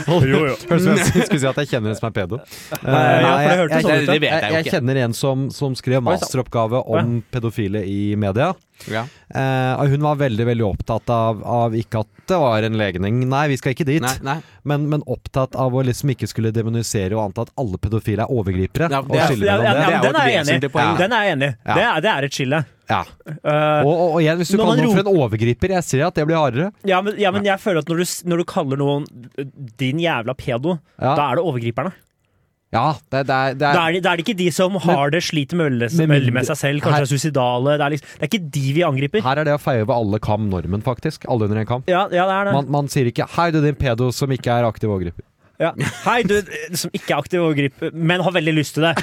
Jo, jo. Hørtes ut som jeg skulle si at jeg kjenner en som er pedo. Eh, ja, for det hørtes sånn jeg, ut, ja. Det vet jeg jo jeg, jeg ikke. kjenner en som, som skrev Oi, sant. masteroppgave om pedofile i media. Ja. Eh, og hun var veldig veldig opptatt av, av ikke at det var en legning, nei, vi skal ikke dit, Nei, nei. men, men opptatt av å liksom ikke skulle demonisere og anta at alle pedofile er overgripere. Ja, og det er- skille Ja, ja, mellom ja, det. men den er jeg enig i. vesentlig poeng. Den er jeg enig i. Ja. Det, er, det er et skille. Ja. Eh, Og, og, og jeg, hvis du Når kaller man noen for en overgriper, jeg ser at det blir hardere. ja, men, ja, men jeg føler at når du, s- når du kaller noen eh, din jævla pedo, Ja. da er det overgriperne. Ja, det, det, er- det Da er er det, da er det ikke de som har det, sliter med øl- Men- øl med seg selv, kanskje er suicidale. Det er, liksom, det er ikke de vi angriper. Her er det å feie over alle kam normen, faktisk. Alle under en kam. Ja, ja det er det. Man, man sier ikke 'hei, du din pedo som ikke er aktiv overgriper'. Ja. Hei, du eh, som ikke er aktiv overgriper, men har veldig lyst til det.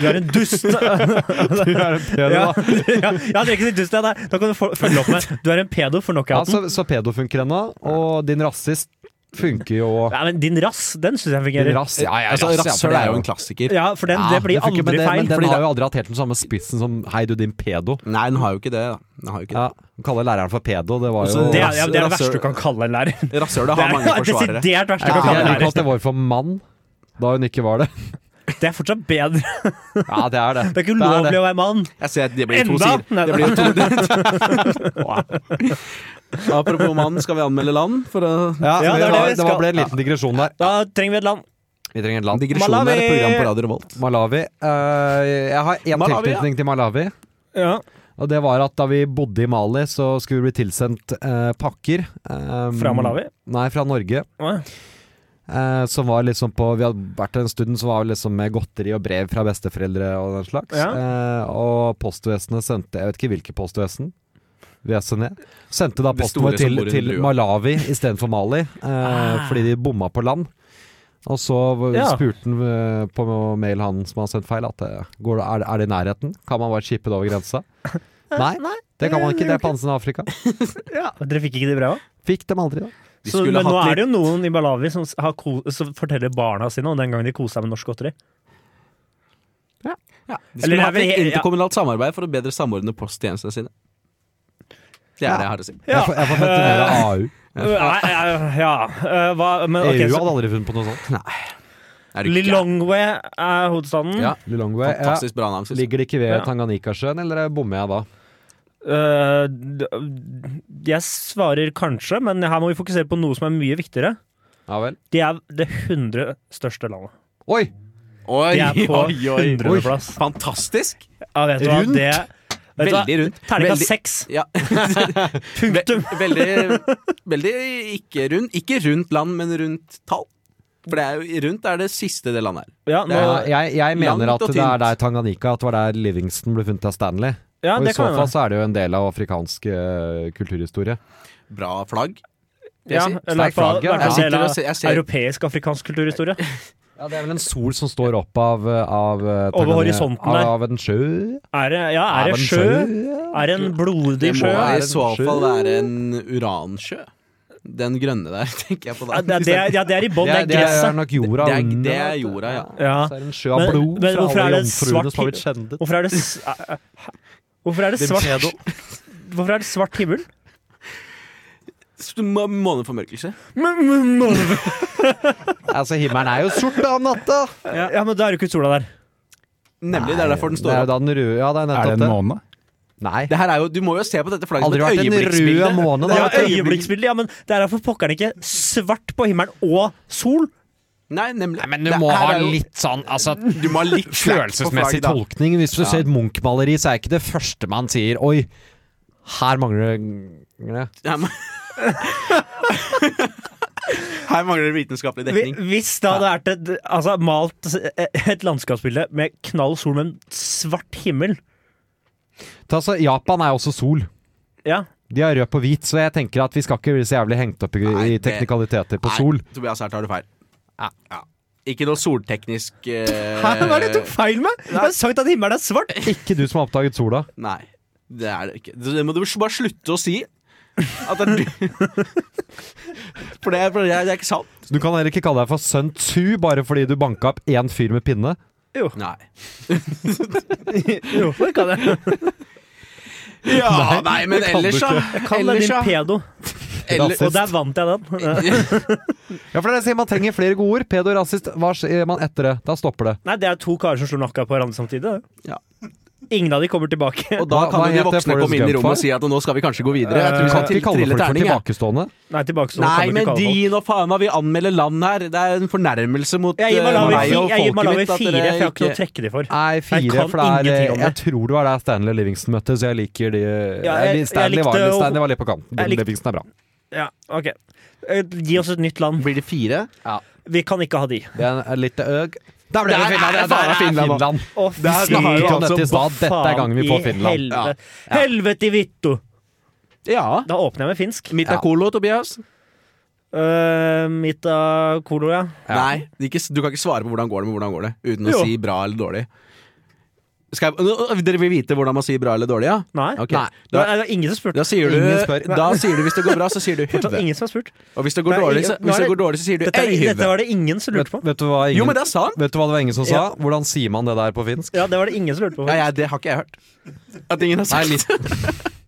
Du er en dust. Du er en pedo, Ja, da. ja, ja, det er ikke så dust, det der. Da kan du få- følge opp med Du er en pedo for Ja, knockouten. så, så pedo funker ennå, og din rasist funker jo Nei, men din rass, den syns jeg Din fungerer. rass, ja, ja, Altså, rass, ja, for Rasshøl det er jo en klassiker. Ja, for den, Ja, det blir funker, men aldri det, feil. Men den fordi har jo aldri hatt helt den samme spissen som 'hei, du din pedo'. Nei, den har jo ikke det. da. Den har jo ikke Ja, Å kalle læreren for pedo, det var Altså, det, jo det, er, ja, det er det Rass- verste du kan kalle en lærer. det. Rasshølet Det har mange er forsvarere. desidert verste du Jeg kan kalle liker en ikke at lærer. det var for mann, da hun ikke var det. Det er fortsatt bedre. Ja, det er det. Det er ikke Det er ulovlig det. å være mann. Jeg ser at det blir to Enda! sider. Det blir jo to Apropos mann, skal vi anmelde land? For å Ja, Ja, vi det er det har- vi det var- skal- ble en liten digresjon der. Da trenger vi et land. Vi trenger et land. digresjonen er et program på Radio Revolt. Malawi. Eh, jeg har én Malawi, ja. tilknytning til Malawi. Ja. Og det var at da vi bodde i Mali, så skulle vi bli tilsendt eh, pakker. eh, Fra Malawi? Nei, fra Norge. Å, ja. Eh, som var liksom på Vi hadde vært en stund som var liksom med godteri og brev fra besteforeldre og den slags. Eh, og postvesenet sendte Jeg vet ikke hvilke postvesen. VSNE. Sendte da Det posten store vår som til, bor under til brua. Malawi istedenfor Mali, eh, Ah. fordi de bomma på land. Og så v- Ja. spurte han eh, på mail han som har sendt feil, at eh, går det, er, det- er det i nærheten? Kan man bare chippe det over grensa? Nei, det kan man ikke. Det er på andre siden av Afrika. Ja, Dere fikk ikke det brevet? Fikk dem aldri, da. De Så, skulle men nå hatt er det jo noen i Malawi som, s- har ko som forteller barna sine om den gangen de koser seg med norsk godteri. Ja, de Eller det skulle er hatt vel et he- ja. interkommunalt samarbeid for å bedre samordne posttjenestene sine. Det er det jeg har å si. Jeg får, jeg får møte mer av AU. Eh, nei, eh, ja. eh, hva, men, ok, EU så, hadde aldri funnet på noe sånt. Er du ikke- Lilongwe er hovedstaden. Ja, Lilongwe. Ja. Fantastisk bra navn, synes jeg. Ligger det ikke ved Ja. Tanganyikasjøen, eller bommer jeg da? Eh, d- jeg svarer kanskje, men her må vi fokusere på noe som er mye viktigere. Ja vel. De er det 100 største landet. Oi! Oi, De er på oi, oi. 100. plass. Fantastisk! Ja, vet du hva? Rundt? Det, vet du hva? Veldig rundt. Terningkast Veldig- seks. Ja. Ve Punktum. veldig, veldig ikke rundt Ikke rundt land, men rundt tall. For det er jo, rundt er det siste det landet er. Ja, nå, Ja, jeg, jeg mener langt at og det er tynt. der Tanganyika At det var der Livingston ble funnet av Stanley. ja, og i det så kan fall hende. så er det jo en del av afrikansk eh, kulturhistorie. Bra flagg. Det Ja, sier- eller i hvert fall flagg, ja. i hvert fall del Jeg sitter og av ser- jeg ser- europeisk-afrikansk kulturhistorie. Ja, Det er vel en sol som står opp av, eh, av eh, Over Tanganyika- horisonten der. Av en sjø? Er det, ja, er Av det en sjø? Er det en blodig Det må sjø? være i en så sjø. fall være en uransjø. Den grønne der, tenker jeg på. Ja, Da. det, det, er- ja, det er i bånn, Det det er, er det er gresset. nok jorda Det er- under. det er jorda, ja. Ja. Så er det en sjø av Men- blod men hvorfor fra er alle det jomfruene svart som har blitt skjendet. Hvorfor er det s- eh, eh, Hvorfor er det svart Hvorfor er det svart himmel? Stum- Måneformørkelse. Altså, himmelen er jo sort da om natta! Ja, men da er det jo ikke sola der. Nemlig. Det er derfor den Det er står jo opp. da den røde Ja, det er Er det nettopp en det. måne? Nei. Det her er jo, du må jo se på dette flagget Aldri som vært et en rød øyeblikksbilde. måne, Det da. er øyeblikksbildet, ja, men det er for pokkeren ikke svart på himmelen og sol. Nei, nemlig. Men du Det må her ha er jo- litt sånn altså, Du må ha litt slack på følelsesmessig flagget, da. tolkning. Hvis du ser et Munch-maleri, så er ikke det første man sier 'oi, her mangler det Her må- Her mangler det vitenskapelig dekning. Hvis det hadde vært et, altså, malt et landskapsbilde med knall sol, men svart himmel Ta, så, Japan er også sol. Ja, De har rød på hvit, så jeg tenker at vi skal ikke bli så jævlig hengt opp i, Nei, i det- teknikaliteter på sol. Nei, Tobias, her tar du feil. Ja. Ikke noe solteknisk eh, Hæ, Hva er det du tok feil med? Jeg har sagt at himmelen er svart. Ikke du som har oppdaget sola. Nei, det er det ikke. Det må du bare slutte å si. At det er du. For det er, for det er, det er ikke sant. Du kan heller ikke kalle deg for Sun Tzu bare fordi du banka opp én fyr med pinne. Nei. Jo, det kan jeg. Ja, nei, men det kan du ellers, da. Kall deg Ellers, din da. pedo. Eller- Og der vant jeg den. Ja, for det er det jeg sier, man trenger flere gode ord. Pedo rasist, hva sier man etter det? Da stopper det. Nei, det er to karer som slår knocka på hverandre samtidig. Ja. Ingen av de kommer tilbake. Og da Hva- kan hva jo de heter voksne Forrest komme inn i Gump rommet for? og si at nå skal vi kanskje gå videre. Jeg tror Kan vi ikke skal Eh, vi til- kalle trille folk for terning, jeg. tilbakestående? Nei, tilbake så Nei, kan du men ikke de kalle folk. nå faen meg, vi anmelder land her. Det er en fornærmelse mot Jeg gir eh, Malawi meg fi- og jeg gir folket Malawi mitt. at fire, for dere jeg har ikke noe å ikke- trekke de for. Nei, Jeg fire, kan for det ingenting er eh, om det. Jeg tror det var der Stanley Livingston møtte, så jeg liker de Ja, jeg- Nei, jeg Stanley, var, likte å- Stanley var litt på kanten. Jeg likte- Livingston er bra. Ja, ok. Eh, Gi oss et nytt land. Blir det fire? Vi kan ikke ha de. Det er litt øg. Der ble det Der er- Finland! ja, der Der er er Finland! Finland. Å, fy Der snakket vi om dette i stad. Dette altså er faen gangen vi får i Finland. Helvete, helvete vitto! Ja. Da åpner jeg med finsk. Mitt er Ja. colo, Tobias. Uh, mitt av Kolo, ja. Nei, det er ikke, du kan ikke svare på hvordan går det med hvordan går det, uten å Jo. si bra eller dårlig. Skal jeg, nå, dere vil vite hvordan man sier bra eller dårlig, ja? Nei. Ok. Nei. Da, Da, er det ingen som har spurt. da, sier du, Ingen spør. da sier du hvis det går bra, så sier du Fortsatt høve. ingen som har spurt. Og hvis det går Nei, dårlig, så, nå hvis er det det- går dårlig, så sier du Dette, ei er- dette høve. var det ingen som lurte Vet, på. vet du hva ingen, Jo, men det er sant! Vet du hva det var ingen som sa? Ja. Hvordan sier man det der på finsk? Ja, det var det ingen som lurte på. Nei, jeg- det har ikke jeg hørt. At ingen har sagt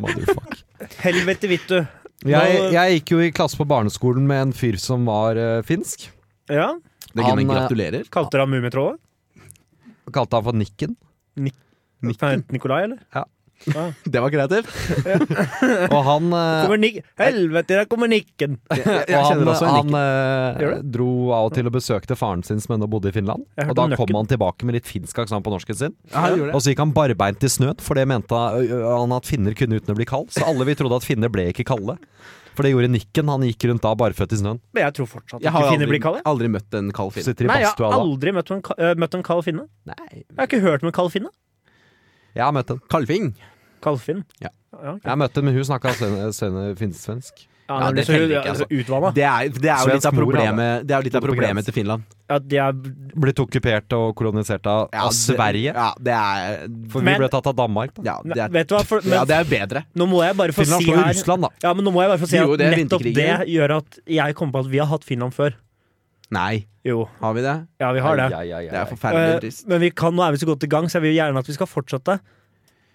Motherfuck. Helvete vittu. Jeg, Nå- jeg gikk jo i klasse på barneskolen med en fyr som var eh, finsk. Ja, Det er Han, eh, gratulerer. kalte dere han Mummitrollet? Og kalte han for Nikken. Pant Nikolai, eller? Det var kreativt. Og han, eh, Kommer Nik Helvete, der kommer Nikken! og jeg han, kjenner også en han eh, Gjør dro av og til og besøkte faren sin som ennå bodde i Finland. Jeg hørte Og da om kom Nøkken. han tilbake med litt finsk aksent på norsken sin. Ja, han gjorde det. Og så gikk han barbeint i snøen, for det mente han, ø, ø, han at finner kunne uten å bli kald. Så alle vi trodde at finner ble ikke kalde. For det gjorde Nikken. Han gikk rundt da barføtt i snøen. Men jeg tror fortsatt Jeg har ikke finner aldri, blir kalde. jeg. aldri møtt en kald finn. Sitter i Nei, jeg badstua har da. aldri møtt en, ka- eh, møtt en kald finne. Nei. Jeg har ikke hørt om en kald finne. Jeg har møtt henne. Kalving. Kald finn. Ja. ok. Jeg har møtt henne, men hun snakka finsk-svensk. Ja, Ja, når du det så- teller ikke, ja, altså. så Utvanna. Det er, det er jo litt Svensk av mor, problemet, det er jo litt av På problemet grensen. til Finland. Ja, de er, Blitt okkupert og kolonisert av, Ja, av Sverige. Ja, det er For Men- vi ble tatt av Danmark. Da. Ja, det Nei, er, vet du hva, for, men, ja, det er bedre. nå må jeg bare få Finland si slår jo her Russland, da. Ja, men nå må jeg bare få si Jo, at det er nettopp det vinterkrigen. gjør at jeg kom på at vi har hatt Finland før. Nei, Jo, har vi det? ja, vi har det. Ja, ja, ja, Det ja. er forferdelig Eh, trist. men vi kan, nå er vi så godt i gang, så jeg vil gjerne at vi skal fortsette.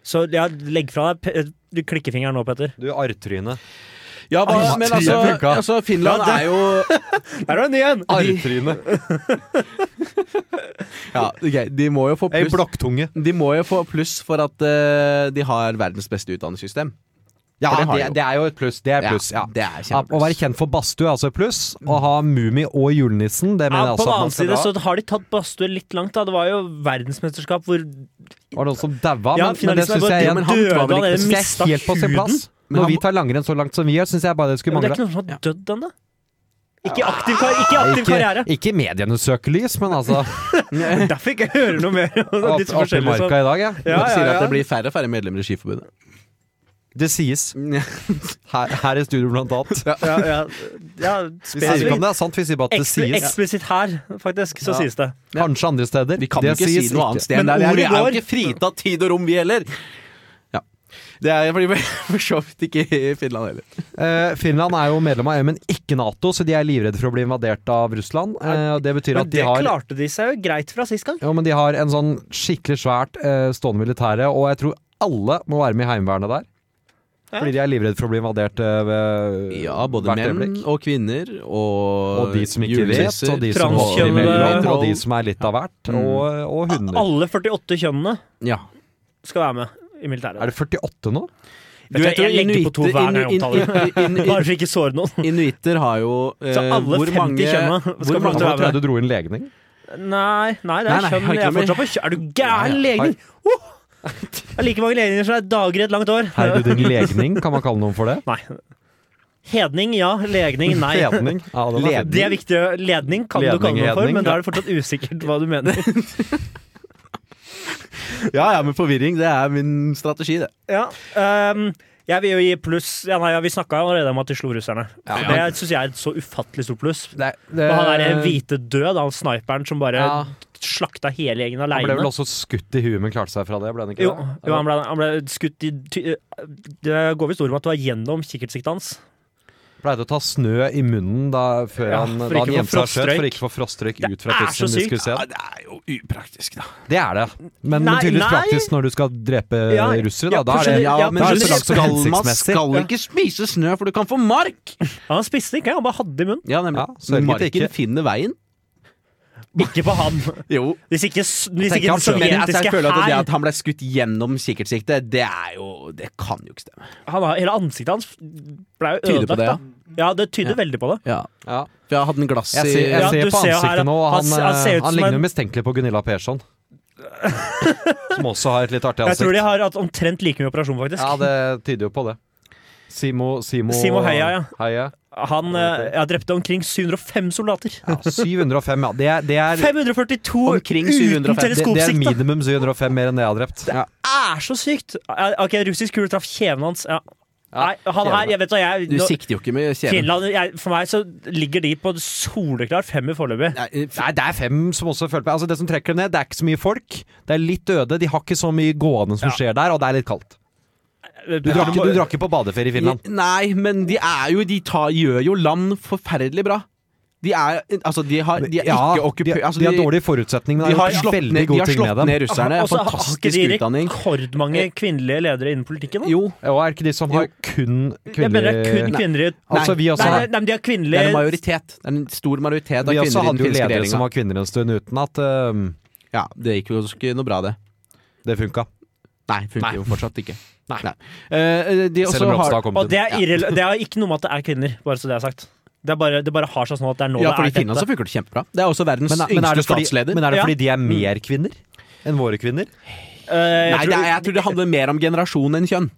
Så ja, legg fra deg pe- du klikkefingeren nå, Petter. Du arrtryne. Ja, hva, Ah, men tre altså, funka. altså Finland Ja, er jo Der var det en ny Ah, en! Arrtryne. ja, ok, De må jo få Ei pluss blokktunge. De må jo få pluss for at eh, de har verdens beste utdanningssystem. Ja, For det har det, jo. det er jo et pluss. Det er pluss, ja. Det er Ja, å være kjempepluss. kjent for badstue er altså et pluss. Å ha Mummi og julenissen, det Ja, mener jeg på også den at annen man skal side ha. så har de tatt badstue litt langt. da Det var jo verdensmesterskap hvor Var det noen som daua? Ja, men, men det finalisten er syns bare jeg død, igjen men han Det var vel ikke- synes jeg er mistet helt på sin huden. plass. han- Når vi tar langrenn så langt som vi gjør, syns jeg bare det skulle Men Det er mangle. ikke noen som har dødd ennå. Ikke i aktiv, kar ikke i aktiv karriere. Ikke, ikke i medienes søkelys, men altså Derfor ikke jeg hører noe mer. om opp, disse opp i forskjellige sånn. marka i dag, ja. Ja, De sier ja, at det ja. blir færre og færre medlemmer i Skiforbundet. Det sies. Her, her i studio, blant annet. Ja, ja, ja, Vi sier ikke spesifikt. om det er sant, vi sier bare at det Ekspl sies. eksplisitt her, faktisk, så Ja. sies det. Kanskje andre steder. Vi kan Det jo ikke si sies noe annet sted enn Men der. Vi er- Vi ordet er jo går. ikke fritatt tid og rom, vi heller. Ja. Det er fordi vi for så vidt ikke i Finland heller. Eh, Finland er jo medlem av EU, men ikke Nato, så de er livredde for å bli invadert av Russland. Eh, og det betyr Men at de det har klarte de seg jo greit fra sist gang. Jo, men de har en sånn skikkelig svært eh, stående militære, og jeg tror alle må være med i Heimevernet der. Ja. Fordi de er livredde for å bli invadert eh, ved Ja, både hvert menn øyeblikk. og kvinner og Og de som ikke vet, julenisser. og de som holder Transkjønnede. imellom, og de som er litt av hvert, Mm. og, og hunder. Alle 48 kjønnene Ja. skal være med i militæret. Er det 48 nå? Vet du, hva, jeg legger på to inuitter- hver når jeg inu- omtaler det. inu- inu- Bare for ikke å såre noen. Inuitter har jo eh, Så alle hvor 50 mange, kjønna hvor skal få lov mange, til å være med. Jeg trodde du dro inn legning. Nei, nei, det Nei, er nei, kjønn. har ikke Jeg er noe med- fortsatt på kjønn. Er du gæren legning? Oh! Det er like mange legninger som det er dager i et langt år. Herre du din legning, kan man kalle noen for det? Nei. Hedning, ja. Legning, nei. Ledning. Ja, det var fint. Det er viktig. Ledning kan Ledning, du kalle noe for, hedning, men da ja. er det fortsatt usikkert hva du mener. Ja, ja, men forvirring, det er min strategi, det. Ja, ehm, jeg vil jo gi pluss ja, nei, ja, Vi snakka allerede om at de slo russerne. Ja. Det syns jeg er et så ufattelig stort pluss. Det- Og det- han der hvite død, han sniperen som bare Ja. slakta hele gjengen Han ble vel aleine. også skutt i huet, men klarte seg fra det? Ble han ikke Jo, det? jo, eh, han ble, han ble skutt i ty, Det går visst ord om at det var gjennom kikkertsiktet hans. Pleide å ta snø i munnen da, før Ja, han, for da ikke å han få gjemte seg frostrøyk. sjøl for ikke å få frostrøyk Det ut fra er så tissen du sykt. skulle se. det er jo upraktisk, da. Det er det. Men Nei, tydeligvis nei. praktisk når du skal drepe Ja, russere, da. ja, Da er kanskje det det- ja, men kanskje det er så langt som skal man hensiktsmessig. skal ikke spise snø, for du kan få mark! Han spiste ikke, han bare hadde det i munnen. Ja, nemlig. Ja, sørget Marken ikke. finner veien. Ikke på han. Jo. Hvis ikke, s- hvis Tenk ikke han den selv. Men altså, jeg sovjetiske føler at det hær at han ble skutt gjennom kikkertsiktet, det er jo Det kan jo ikke stemme. han har- Hele ansiktet hans ble jo Tyder på ødelagt. det, da. Ja, det tyder Ja. veldig på det. Ja. Ja. For jeg hadde en glass i Jeg ser, jeg Ja, ser du på ser jo ansiktet her, nå, og han, han- han ser eh, ut han som ligner en- jo mistenkelig på Gunilla Persson. Som også har et litt artig Jeg tror ansikt. de har hatt omtrent like mye operasjon, faktisk. Ja, det tyder jo på det. Simo Simo, Simo Heia, ja. Heia. Han eh, ja, drepte omkring 705 soldater. Ja, 705, ja. Det er, det er 542 Omkring uten det, 705. det er teleskopsikt! Det, minimum 705 mer enn det jeg har drept. er så sykt! Ja, Ok, russisk kule traff kjeven hans. Ja. Ja, Nei, han her, jeg vet hva jeg Du nå- sikter jo ikke med kjeven. Finland, jeg, For meg så ligger de på soleklar femmer foreløpig. Nei, Eh, f- Nei, det er fem som også føler på Altså Det som trekker det ned, det er ikke så mye folk. Det er litt døde. De har ikke så mye gående som Ja. skjer der, og det er litt kaldt. Eh, Du drar ikke, du drar ikke på badeferie i Finland. Nei, men de er jo De tar, gjør jo land forferdelig bra. De er Altså, de har de er Ja, ikke de, okkupert altså, de har dårlige forutsetninger, men de det har er slått veldig ned, de god har ting med slått dem. ned russerne. Og så har ikke Fantastisk de utdanning. rekordmange kvinnelige ledere innen politikken? Da? Jo, Ja, og er ikke de som har Jo. kun Jeg mener det er kvinnelige kun kvinnelige Altså, vi også nei, har nei, nei, men de har det er en kvinnelige majoritet. Det er en stor majoritet av Vi også kvinner i hadde den jo finske ledere som regjeringa. var kvinner en stund, uten at øhm, Ja, det gikk jo ikke noe bra, det. det funka. Nei, funker Nei. jo fortsatt ikke. Nei. Eh, de også Selv om Ropstad har har kommet Og det inn. er, irrele det har ikke noe med at det er kvinner, bare så det er sagt. Det, er bare, det bare har seg sånn at det er nå Ja, for i det er Finland så funker det kjempebra. Det er også verdens Men, er- men, er yngste det fordi, statsleder. Mm. men er det Ja. fordi de er mer kvinner enn våre kvinner? Eh, jeg Nei, det er, jeg tror det handler mer om generasjon enn kjønn.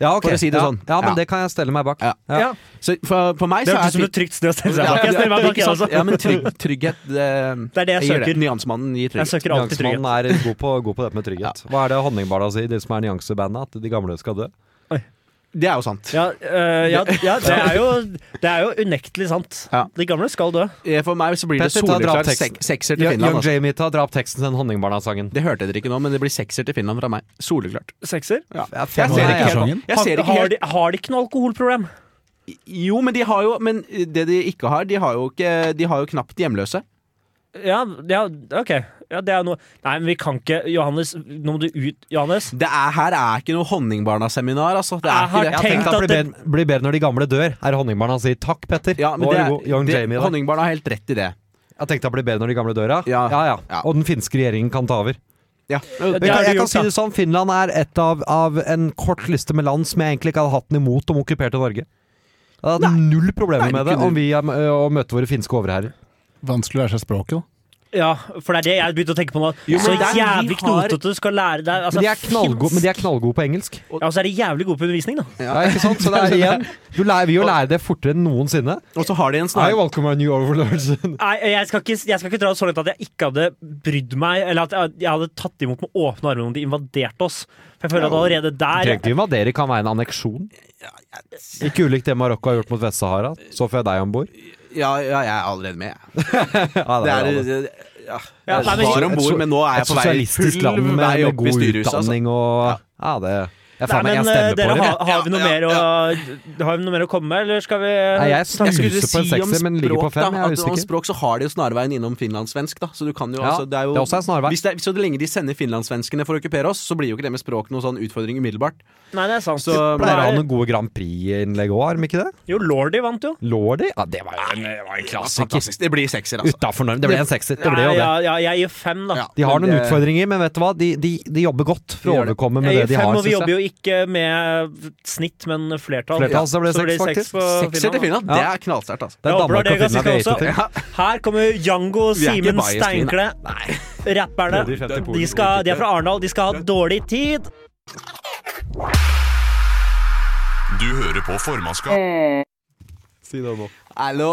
Ja, For å si det ja. sånn. Ja, men Ja. det kan jeg stelle meg bak. Ja. Ja. Så for, for meg Det så hørtes ut som er et trygt sted å stille seg Ja, bak. Jeg stiller meg bak, ikke jeg sant? også. ja, men trygg, trygghet det, Det er det jeg gir søker. Nyansemannen gir Jeg trygghet. søker alltid trygghet. Nyansemannen er god på, god på dette med trygghet. Hva er det honningbarna sier, de som er nyansebandet? At de gamle skal dø? Det er jo sant. Ja, eh, ja, ja, det er jo, det er jo unektelig sant. Ja. De gamle skal dø. Eh, For meg så blir det Petter, ta soleklar draptekst. sek sekser til Young Finland. Altså. Jamie tar drap teksten til den honningbarna-sangen. Det hørte dere ikke nå, men det blir sekser til Finland fra meg. Soleklart. Sekser. Jeg Jeg ser Nei, ikke ja. helt. Jeg ser ikke har, helt. de, har de ikke noe alkoholproblem? Jo, men de har jo Men det de ikke har, de har jo ikke De har jo knapt hjemløse. Ja, ja OK. Ja, det er noe Nei, men vi kan ikke Johannes, nå må du ut. Johannes. Det er, her er ikke noe Honningbarna-seminar, altså. Det Jeg er har ikke det. tenkt Tenk at at blir det- bedre, blir bedre når de gamle dør, er honningbarna sier. Takk, Petter. Ja, men Nå det, er du god. Young det, Jamie der. Honningbarna har helt rett i det. Jeg tenkte det blir bedre når de gamle dør, ja. Ja. Ja, ja. Ja. Og den finske regjeringen kan ta over. Ja. Det har Men kan, de jeg kan gjort, si da. det sånn, Finland er et av, av en kort liste med land som jeg egentlig ikke hadde hatt den imot om okkuperte Norge. Jeg hadde hatt null problemer Nei, med det kunne- om vi ø, å møte våre finske overherrer. Vanskelig å lære seg språket, da. Ja, for det er det jeg begynte å tenke på nå. Jo, så men det er- jævlig vi har- knotete du skal lære deg. Altså, Men de er knallgode, men de er knallgode på engelsk. Ja, og så er de jævlig gode på undervisning, da. Ja, ikke sant? Så det er igjen Du lærer, vil jo lære det fortere enn noensinne. Og så har de en I snar... welcome our new overlords. Nei, jeg skal, ikke, jeg skal ikke dra det så langt at jeg ikke hadde brydd meg, eller at jeg- jeg hadde tatt imot med åpne armer om de invaderte oss. For jeg føler at allerede der Trenger ikke invadere, kan være en anneksjon. Ikke ulikt det Marokko har gjort mot Vest-Sahara. Så får jeg deg om bord. Ja, ja, jeg er allerede med. jeg. Ja, Det er, det. ja. Ja, Jeg nei, men- var om bord, men nå er jeg Et på vei sosialistisk full land med, vei med opp i god styrehuset. Altså. utdanning og Ja, det Jeg, faen, Nei, meg, jeg men eh, stemmer dere, på det. har, har, vi noe Ja, ja, mer å, har vi noe mer å komme med, eller skal vi Nei, jeg Jeg skulle snuser på en si om sekser, men ligger på språk, da. fem. Jeg er At om usikker. språk så har de jo snarveien innom finlandssvensk, da. Så du kan jo Ja, altså, Det er jo det er også en snarvei. Hvis det er, så lenge de sender finlandssvenskene for å okkupere oss, så blir jo ikke det med språk noen sånn utfordring umiddelbart. Nei, det er sant. Så Nei, Pleier å ha noen gode Grand Prix-innlegg òg, har de ikke det? Jo, Lordy vant jo. Lordi? Ja, det var jo en, det var en klassiker. Fantastisk. Det blir sekser, altså. Utafor norm. Det ble en sekser. Det ble Nei, jo det. ja, ja, jeg gir fem, da. Ja, De har men noen det- utfordringer, men vet du hva? De, de, de jobber godt for å De gjør det. overkomme med det Jeg de gir har. fem, og vi synes jobber jeg. jo ikke med snitt, men flertall. Flertall, så det ble seks, faktisk. Sekser til Finland, det Ja. er knallsterkt, altså. Det er Jeg håper Danmark det er og ganske Finland vi hater til. også. Her kommer Jango, Vi er ikke Simen biased, vi, Steinkle. Rapperne. Tredje, femte polen. De, skal, de er fra Arendal. De skal ha dårlig tid. Du hører på formannskap. Hallo!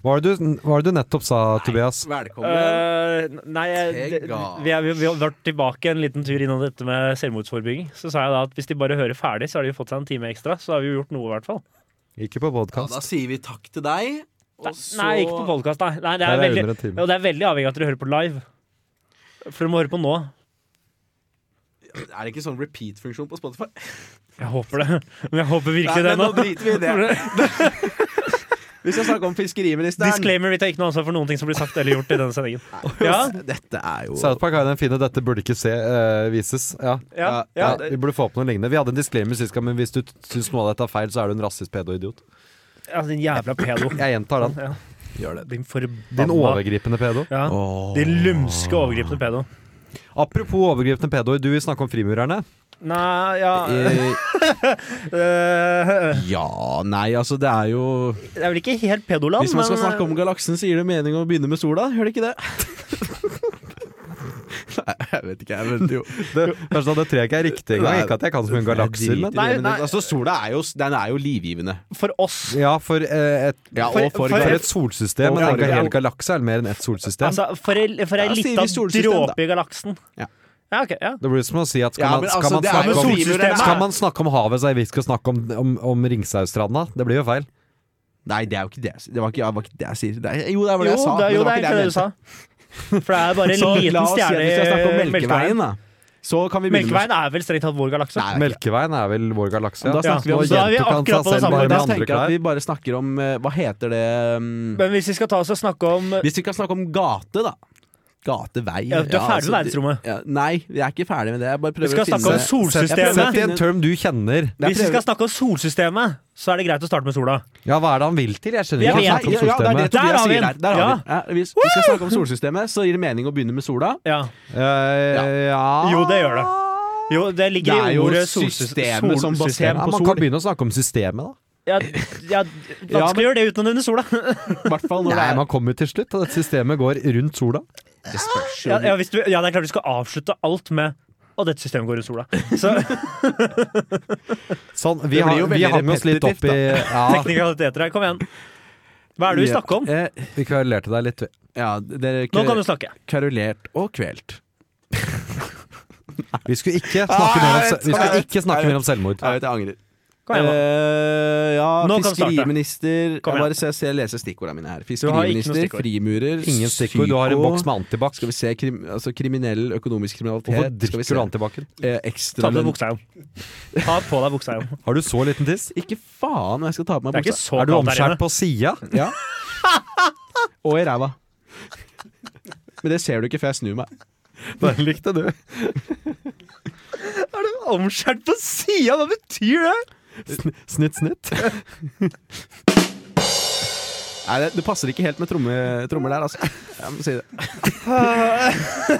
Hva var det du, hva var det du nettopp sa, Tobias? Velkommen. Eh, nei, jeg- det- Sega. vi, er, vi har vært tilbake en liten tur innom dette med selvmordsforebygging. Så sa jeg da at hvis de bare hører ferdig, så har de fått seg en time ekstra. Så har vi jo gjort noe, i hvert fall. Ikke på podkast. da sier vi takk til deg, og så Nei, ikke på podkast, nei. nei det, er Nei, det er under en veldig, time. og det er veldig avhengig av at dere hører på live. For dere må høre på nå. Er det ikke sånn repeat-funksjon på Spotify? Jeg håper det. Men jeg håper virkelig Nei, det men nå. nå driter vi i det. Vi skal snakke om fiskeriministeren. Disclaimer, vi tar ikke noe ansvar for noen ting som blir sagt eller gjort i denne sendingen. Ja, Dette er jo South Park har jo den fine 'dette burde ikke se, eh, vises'. Ja. ja, ja. Ja, vi burde få opp noe lignende. Vi hadde en disclaimer sist gang, men hvis du t- syns noe av dette er feil, så er du en rasist, pedo, idiot. Altså, din jævla pedo. Jeg gjentar den. Ja. Gjør det. Din forbanna Din overgripende pedo. Ja. Din lumske overgripende pedo. Apropos overgripende pedoer, du vil snakke om frimurerne. Nei, ja Eh, eh, Ja, nei, altså det er jo Det er vel ikke helt pedoland, Hvis man skal men, eh, snakke om galaksen, så gir det mening å begynne med sola, gjør det ikke det? Nei, jeg vet ikke, jeg vet jo Det, kanskje det treet ikke er riktig engang. Nei. Ikke at jeg kan så mye om Jeg galakser, driter i men det, Nei, men nei. det- Altså, sola er jo, den er jo livgivende. eh, For oss Ja, for, eh, et, Ja, og for- for, et solsystem. Og Men for- en hel galakse er mer enn ett solsystem. Altså, for ei, for ei Da sier lita vi solsystem, da. dråpe i galaksen. Ja. Ja, ok. Ja. Det blir som å si at skal, Ja, man, men skal, altså, man, det er snakke jo om, solsystemet. skal man snakke om havet, så er vi skal snakke om, om, om Ringsausstranda. Det blir jo feil. Nei, det er jo ikke det jeg sier. Det var ikke, det var ikke det jeg sier. Det er, jo, det er vel Jo, det jeg sa. det, er- men jo, det var er ikke egentlig det du jeg sa. For det er bare en mente. Så la liten oss si at stjerne vi skal snakke om Melkeveien, Melkeveien. da. Så kan vi begynne Melkeveien er vel strengt tatt vår galakse. Nei, det er ikke det. Melkeveien er vel vår galakse. Da snakker vi om- da er vi gjentok han akkurat på seg det samme. selv bare med Da andre tenker jeg klær. at vi bare snakker om eh, Hva heter det um, Men hvis vi skal ta oss og snakke om Hvis vi kan snakke om gate, da. Gatevei. Ja, du er ferdig med altså, det- verdensrommet. Ja, nei, jeg er ikke ferdig med det. Jeg bare Vi prøver skal å finne snakke om det. Sett sett i solsystemet. en term du kjenner. Jeg Hvis vi prøver- skal snakke om solsystemet, så er det greit å starte med sola. Ja, hva er det han vil til? Jeg skjønner Jeg ikke. vet Han Nei, snakker om ja, ja, det er Der solsystemet. det Tobias har vi sier den. der. der har Ja. vi den. Ja, hvis vi skal snakke om solsystemet, så gir det mening å begynne med sola. Ja. Eh, ja. Jo, det gjør det. Jo, det Det ligger er i jo ordet systemet solsystem som baserer- Ja, på man sol. kan begynne å snakke om systemet, da. Ja, ja, Ja, vanskelig å gjøre det uten å nevne sola. I hvert fall når Nei, det man kommer til slutt. og Dette systemet går rundt sola. er Det spørs jo. Ja, ja, hvis du, ja, det er klart du skal avslutte alt med og dette systemet går rundt sola. Så Sånn, vi, Det blir har, jo vi veldig hang oss litt opp i ja, teknikaliteter her, kom igjen. Hva er det vi snakker om? Eh, Vi kverulerte deg litt. vi. Ja, dere Nå kan du snakke. karulert og kvelt. Vi skulle ikke snakke mer om, se- vi skulle ikke snakke mer om selvmord. Jeg vet, jeg angrer. Kom igjen, da. Eh, ja, Nå kan du starte. fiskeriminister Jeg Kom igjen. bare ser, ser, leser stikkordene mine her. noe Fiskeriminister, stikkord. frimurer, Ingen stikkord. Du har en psyko. boks med antibac. Skal vi se, krim, altså kriminell, økonomisk kriminalitet Hvorfor Skal vi drikker se. du antibacen? Eh, Ta ekstra på deg buksa igjen. Ta på deg buksa igjen. Har du så liten tiss? Ikke faen om jeg skal ta på meg Det er ikke buksa. så Er du kaldt her omskjært inne. på sida? Ja. og i ræva. Men det ser du ikke før jeg snur meg. Den likte du. Er du omskjært på sida? Hva betyr det? Snitt, snitt. Nei, det, det passer ikke helt med tromme, trommer der, altså. Jeg må si det.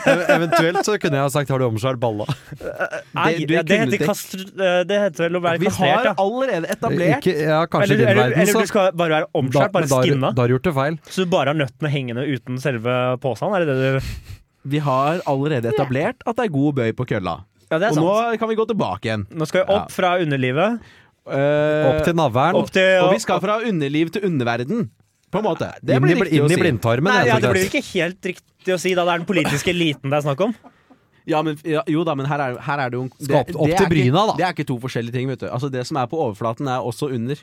Ev- Eventuelt så kunne jeg ha sagt 'har du omskjært balla'? Nei, Det- det, du kunne heter det- kastr... eh, Det heter vel å være Vi har kastrert, ja. allerede etablert Ikke, ja, kanskje i Eller, din eller, verden, eller så du skal bare være da, omskjært, bare men da, har du- skinna. da har du gjort det feil. Så du bare har nøttene hengende uten selve posen? Er det det du Vi har allerede etablert at det er god bøy på kølla. Ja, det er sant. Og nå Nå, kan vi gå tilbake igjen. skal vi opp fra underlivet. Eh, Opp til navlen. Opp til og vi skal fra underliv til underverden, på en måte. Det Inn i, blir bl- riktig inn å i si. blindtarmen. Nei, jeg, ja, så det blir greit. ikke helt riktig å si, da. Det er den politiske eliten det er snakk om. Ja, men, ja, jo da, men her er, her er det jo en- Skal opp- det- opp det til er ikke- bryna, da. Det er ikke to forskjellige ting, vet du. Altså, det som er på overflaten, er også under.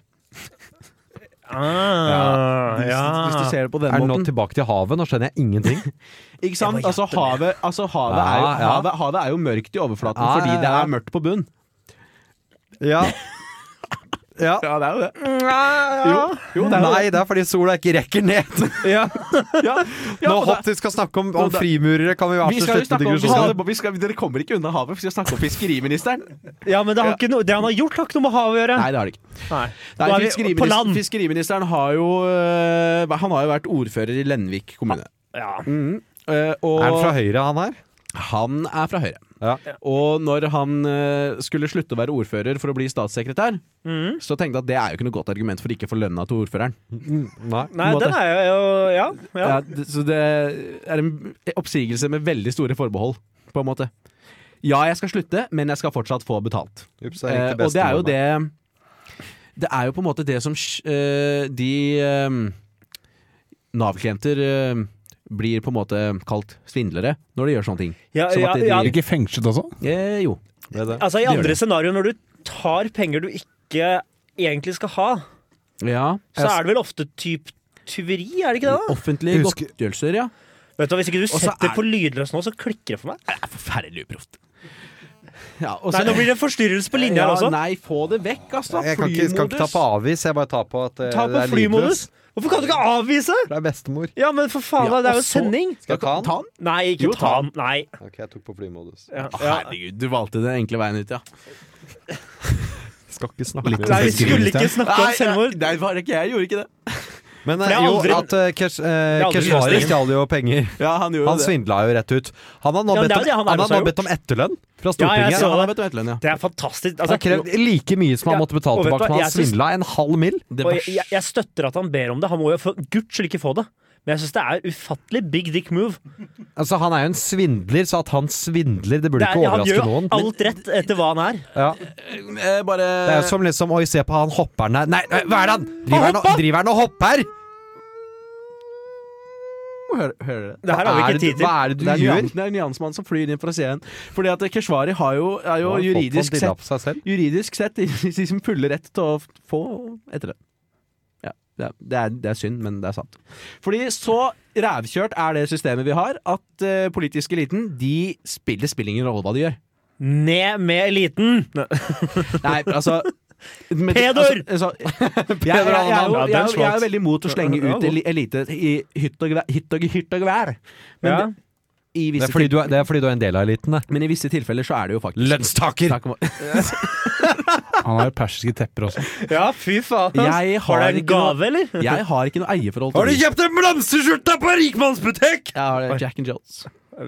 Ah, Hvis, ja. hvis du ser det på den Er den nå måten. tilbake til havet? Nå skjønner jeg ingenting. Ikke sant? Jeg må Altså, gjette det. havet, altså, havet, er jo, Ja, ja. havet, havet er jo mørkt i overflaten Ja, fordi ja, det ja. er mørkt på bunn. Ja. Ja. Ja, det er jo det. Jo. Nei, det er fordi sola ikke rekker ned. Ja. Nå og hopp til vi skal snakke om, om og da- frimurere. Kan vi Vi skal jo avslutte snakke om digresjonen? vi skal, Dere kommer ikke unna havet, for vi skal snakke om fiskeriministeren. ja, men det, har ikke noe, det han har gjort, har ikke noe med havet å gjøre. Nei, det har det ikke. Nei. Nei, Nå er vi fiskeriminister, på land. Fiskeriministeren har jo øh, Han har jo vært ordfører i Lenvik kommune. Ja. Eh, og Er han fra Høyre, han her? han er fra Høyre. Ja. Og når han øh, skulle slutte å være ordfører for å bli statssekretær, Mhm. så tenkte jeg at det er jo ikke noe godt argument for ikke å få lønna til ordføreren. Nei. Nei, måte. den er jo Ja. ja. Ja, det- så det er en oppsigelse med veldig store forbehold, på en måte. Ja, jeg skal slutte, men jeg skal fortsatt få betalt. Ups, jeg Eh, ringte og det er bestemoren jo meg. det Det er jo på en måte det som sk- eh, de eh, Nav-klienter eh, blir på en måte kalt svindlere når de gjør sånne ting. ja, som ja, at de- ja. de- Ikke fengslet også? Eh, jo. Det er det. Altså, I Det gjør andre det. scenarioer, når du tar penger du ikke egentlig skal ha, Ja. så er det vel ofte typ tyveri, er det ikke det? da? Offentlige Husker- godtgjørelser, ja. Vet du, hva, Hvis ikke du så setter er- på lydløs nå, så klikker det for meg. Forferdelig uproft. Ja, og Nei, så- nå blir det en forstyrrelse på linja her også. Altså, ja, Nei, få det vekk, altså. Jeg kan ikke, skal ikke ta på avvis, jeg bare tar på at eh, Ta det på er flymodus. lydløst. Hvorfor kan du ikke avvise? Det er bestemor. Ja, men for faen, Ja, det er og jo så- sending. Skal jeg ta den? Ta den? Nei, ikke Jo, ta ta den. Nei. Ok, jeg tok på flymodus. Ja. Å, Ja. herregud, du valgte den enkle veien ut, ja. Skal ikke snakke Nei, vi mer. skulle ikke snakke om selvmord. Nei, var det ikke jeg. Jeg gjorde ikke det. Men For det eh, er jo, aldri- at eh, Kesh- eh, Det er aldri Keshvari løsningen. stjal jo penger. Ja, han gjorde Han det. svindla jo rett ut. Han har nå Ja, bedt det er om, det han han Erlos har har nå bedt om etterlønn fra Ja, jeg Stortinget. så Han han har bedt om etterlønn, ja. Det er fantastisk. har Altså, krevd like mye som han Ja, måtte betale og vet du tilbake. hva, Men han jeg synes- svindla en halv mill. Det og var jeg, jeg støtter at han ber om det. Han må jo for guds skyld ikke få det. Men jeg syns det er ufattelig big dick move. Altså, han er jo en svindler, så at han svindler, det Det burde er, ikke han gjør jo overraske noen. alt rett etter hva han er. Ja. eh, bare Det er jo som liksom Oi, se på han hopperen der. Nei, øh, hva er det han driver han og- hoppa! Driver han og hopper? Hører hører det. Det her har vi Er ikke det- tid til. Hva er det du det er, gjør? nyan, det er nyansmann som flyr inn fra scenen. Fordi at Keshvari har jo, er jo Nå har folk fått juridisk dilla sett på seg selv. Juridisk sett de som fulle rett til å få etter det. Ja, det er, det, er, det er synd, men det er sant. Fordi så rævkjørt er det systemet vi har, at eh, politisk eliten de spiller, spiller ingen rolle hva de gjør. Ned med eliten! Nei, altså men- Peder! Altså, altså, jeg, jeg, jeg, er jo- Ja, den jeg, er jo- jeg er smalt. jo veldig imot å slenge Ja, ut god. eli- elite i hytt og, gevær- hytt og, hytt og gevær. Men, Ja. i Det visse er fordi du er, det er, fordi du er en del av eliten, det. til- men i visse tilfeller så er det jo faktisk Lønnstaker! Snakk om- Han har jo persiske tepper også. Ja, fy faen. ass. Var det Jeg har en ikke noe- gave, eller? Jeg har ikke noe eierforhold Har du det. kjøpt en blomsterskjorte på en rikmannsbutikk?! Jeg har det, Jack and Jones.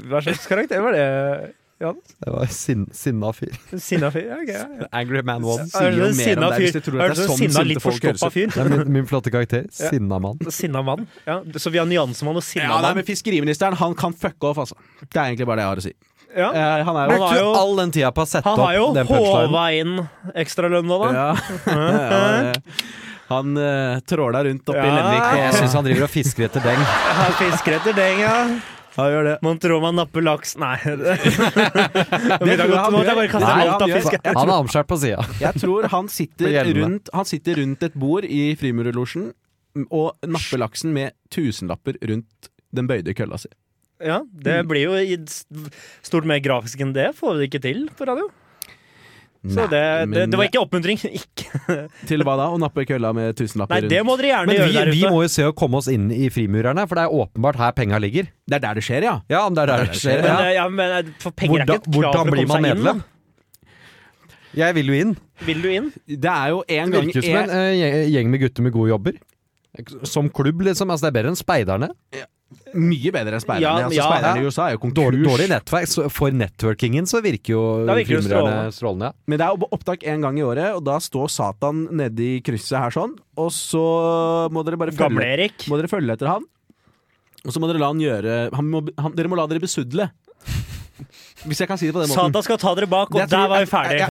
Hva slags karakter var det? Det var sin, sinna fyr. Sinna fyr? Ja, ok, ja, ja. Angry man one. sier Er jo det en mer om sinna deg hvis fyr? de tror at Er det det er en sånn sinna sinte litt folk høres forstoppa ut? fyr? Det er min, min flotte karakter. Ja. Sinna mann. Sinna mann. Ja, så vi har nyansemann og sinna Ja, nei, mann. men Fiskeriministeren han kan fucke off, altså. Det er egentlig bare det jeg har å si. Ja. Eh, han Men- har er jo Brukte jo- du all den tida på å sette Han har jo opp den punchlinen? håva inn ekstralønna, da. ja. Ja, eh, Han uh, tråla rundt oppe i Ja. Jeg Lenvik. syns han driver og fisker etter deng. Han fisker etter deng, ja. Han gjør det. Man tror man napper laks Nei. Det måtte tror jeg han jeg gjør. bare kaste Nei, alt han av gjør. fisk. Han er omskjært på sida. Jeg tror han På sitter, hjelmene. rundt, han sitter rundt et bord i Frimurerlosjen og napper laksen med tusenlapper rundt den bøyde kølla si. Ja, det blir jo i s- stort mer grafisk enn det. Får vi det ikke til på radio. Så det, det, det var ikke oppmuntring. Ikke. Til hva da? Å nappe kølla med tusenlapper Nei, det må rundt? dere gjerne Men gjøre vi, der vi ute. må jo se å komme oss inn i Frimurerne, for det er åpenbart her penga ligger. Det er der det skjer, ja. Ja, men det er der det skjer. Men, Ja. eh, ja, men eh, for penger er Hvordan, ikke et krav hvordan for å blir komme man seg inn. da. medlem? Jeg vil jo inn. Vil du inn? Det er jo en Det gang virker som en eh, gjeng- gjeng med gutter med gode jobber. Som klubb, liksom. Altså, det er bedre enn speiderne. Mye bedre enn speiderne. Ja, altså, ja. speiderne i USA er jo konkurs. Dårlig, dårlig nettverk. Så for networkingen så virker jo Da virker det Frimurerne strålende. ja. Men det er jo opptak én gang i året, og da står Satan nede i krysset her sånn. Og så må dere bare følge, Gamle-Erik. må dere følge etter han. Og så må dere la han gjøre han må, han, Dere må la dere besudle. Hvis jeg kan si det på den måten. Satan skal ta dere bak, og Jeg der tror- var vi ferdige. Jeg,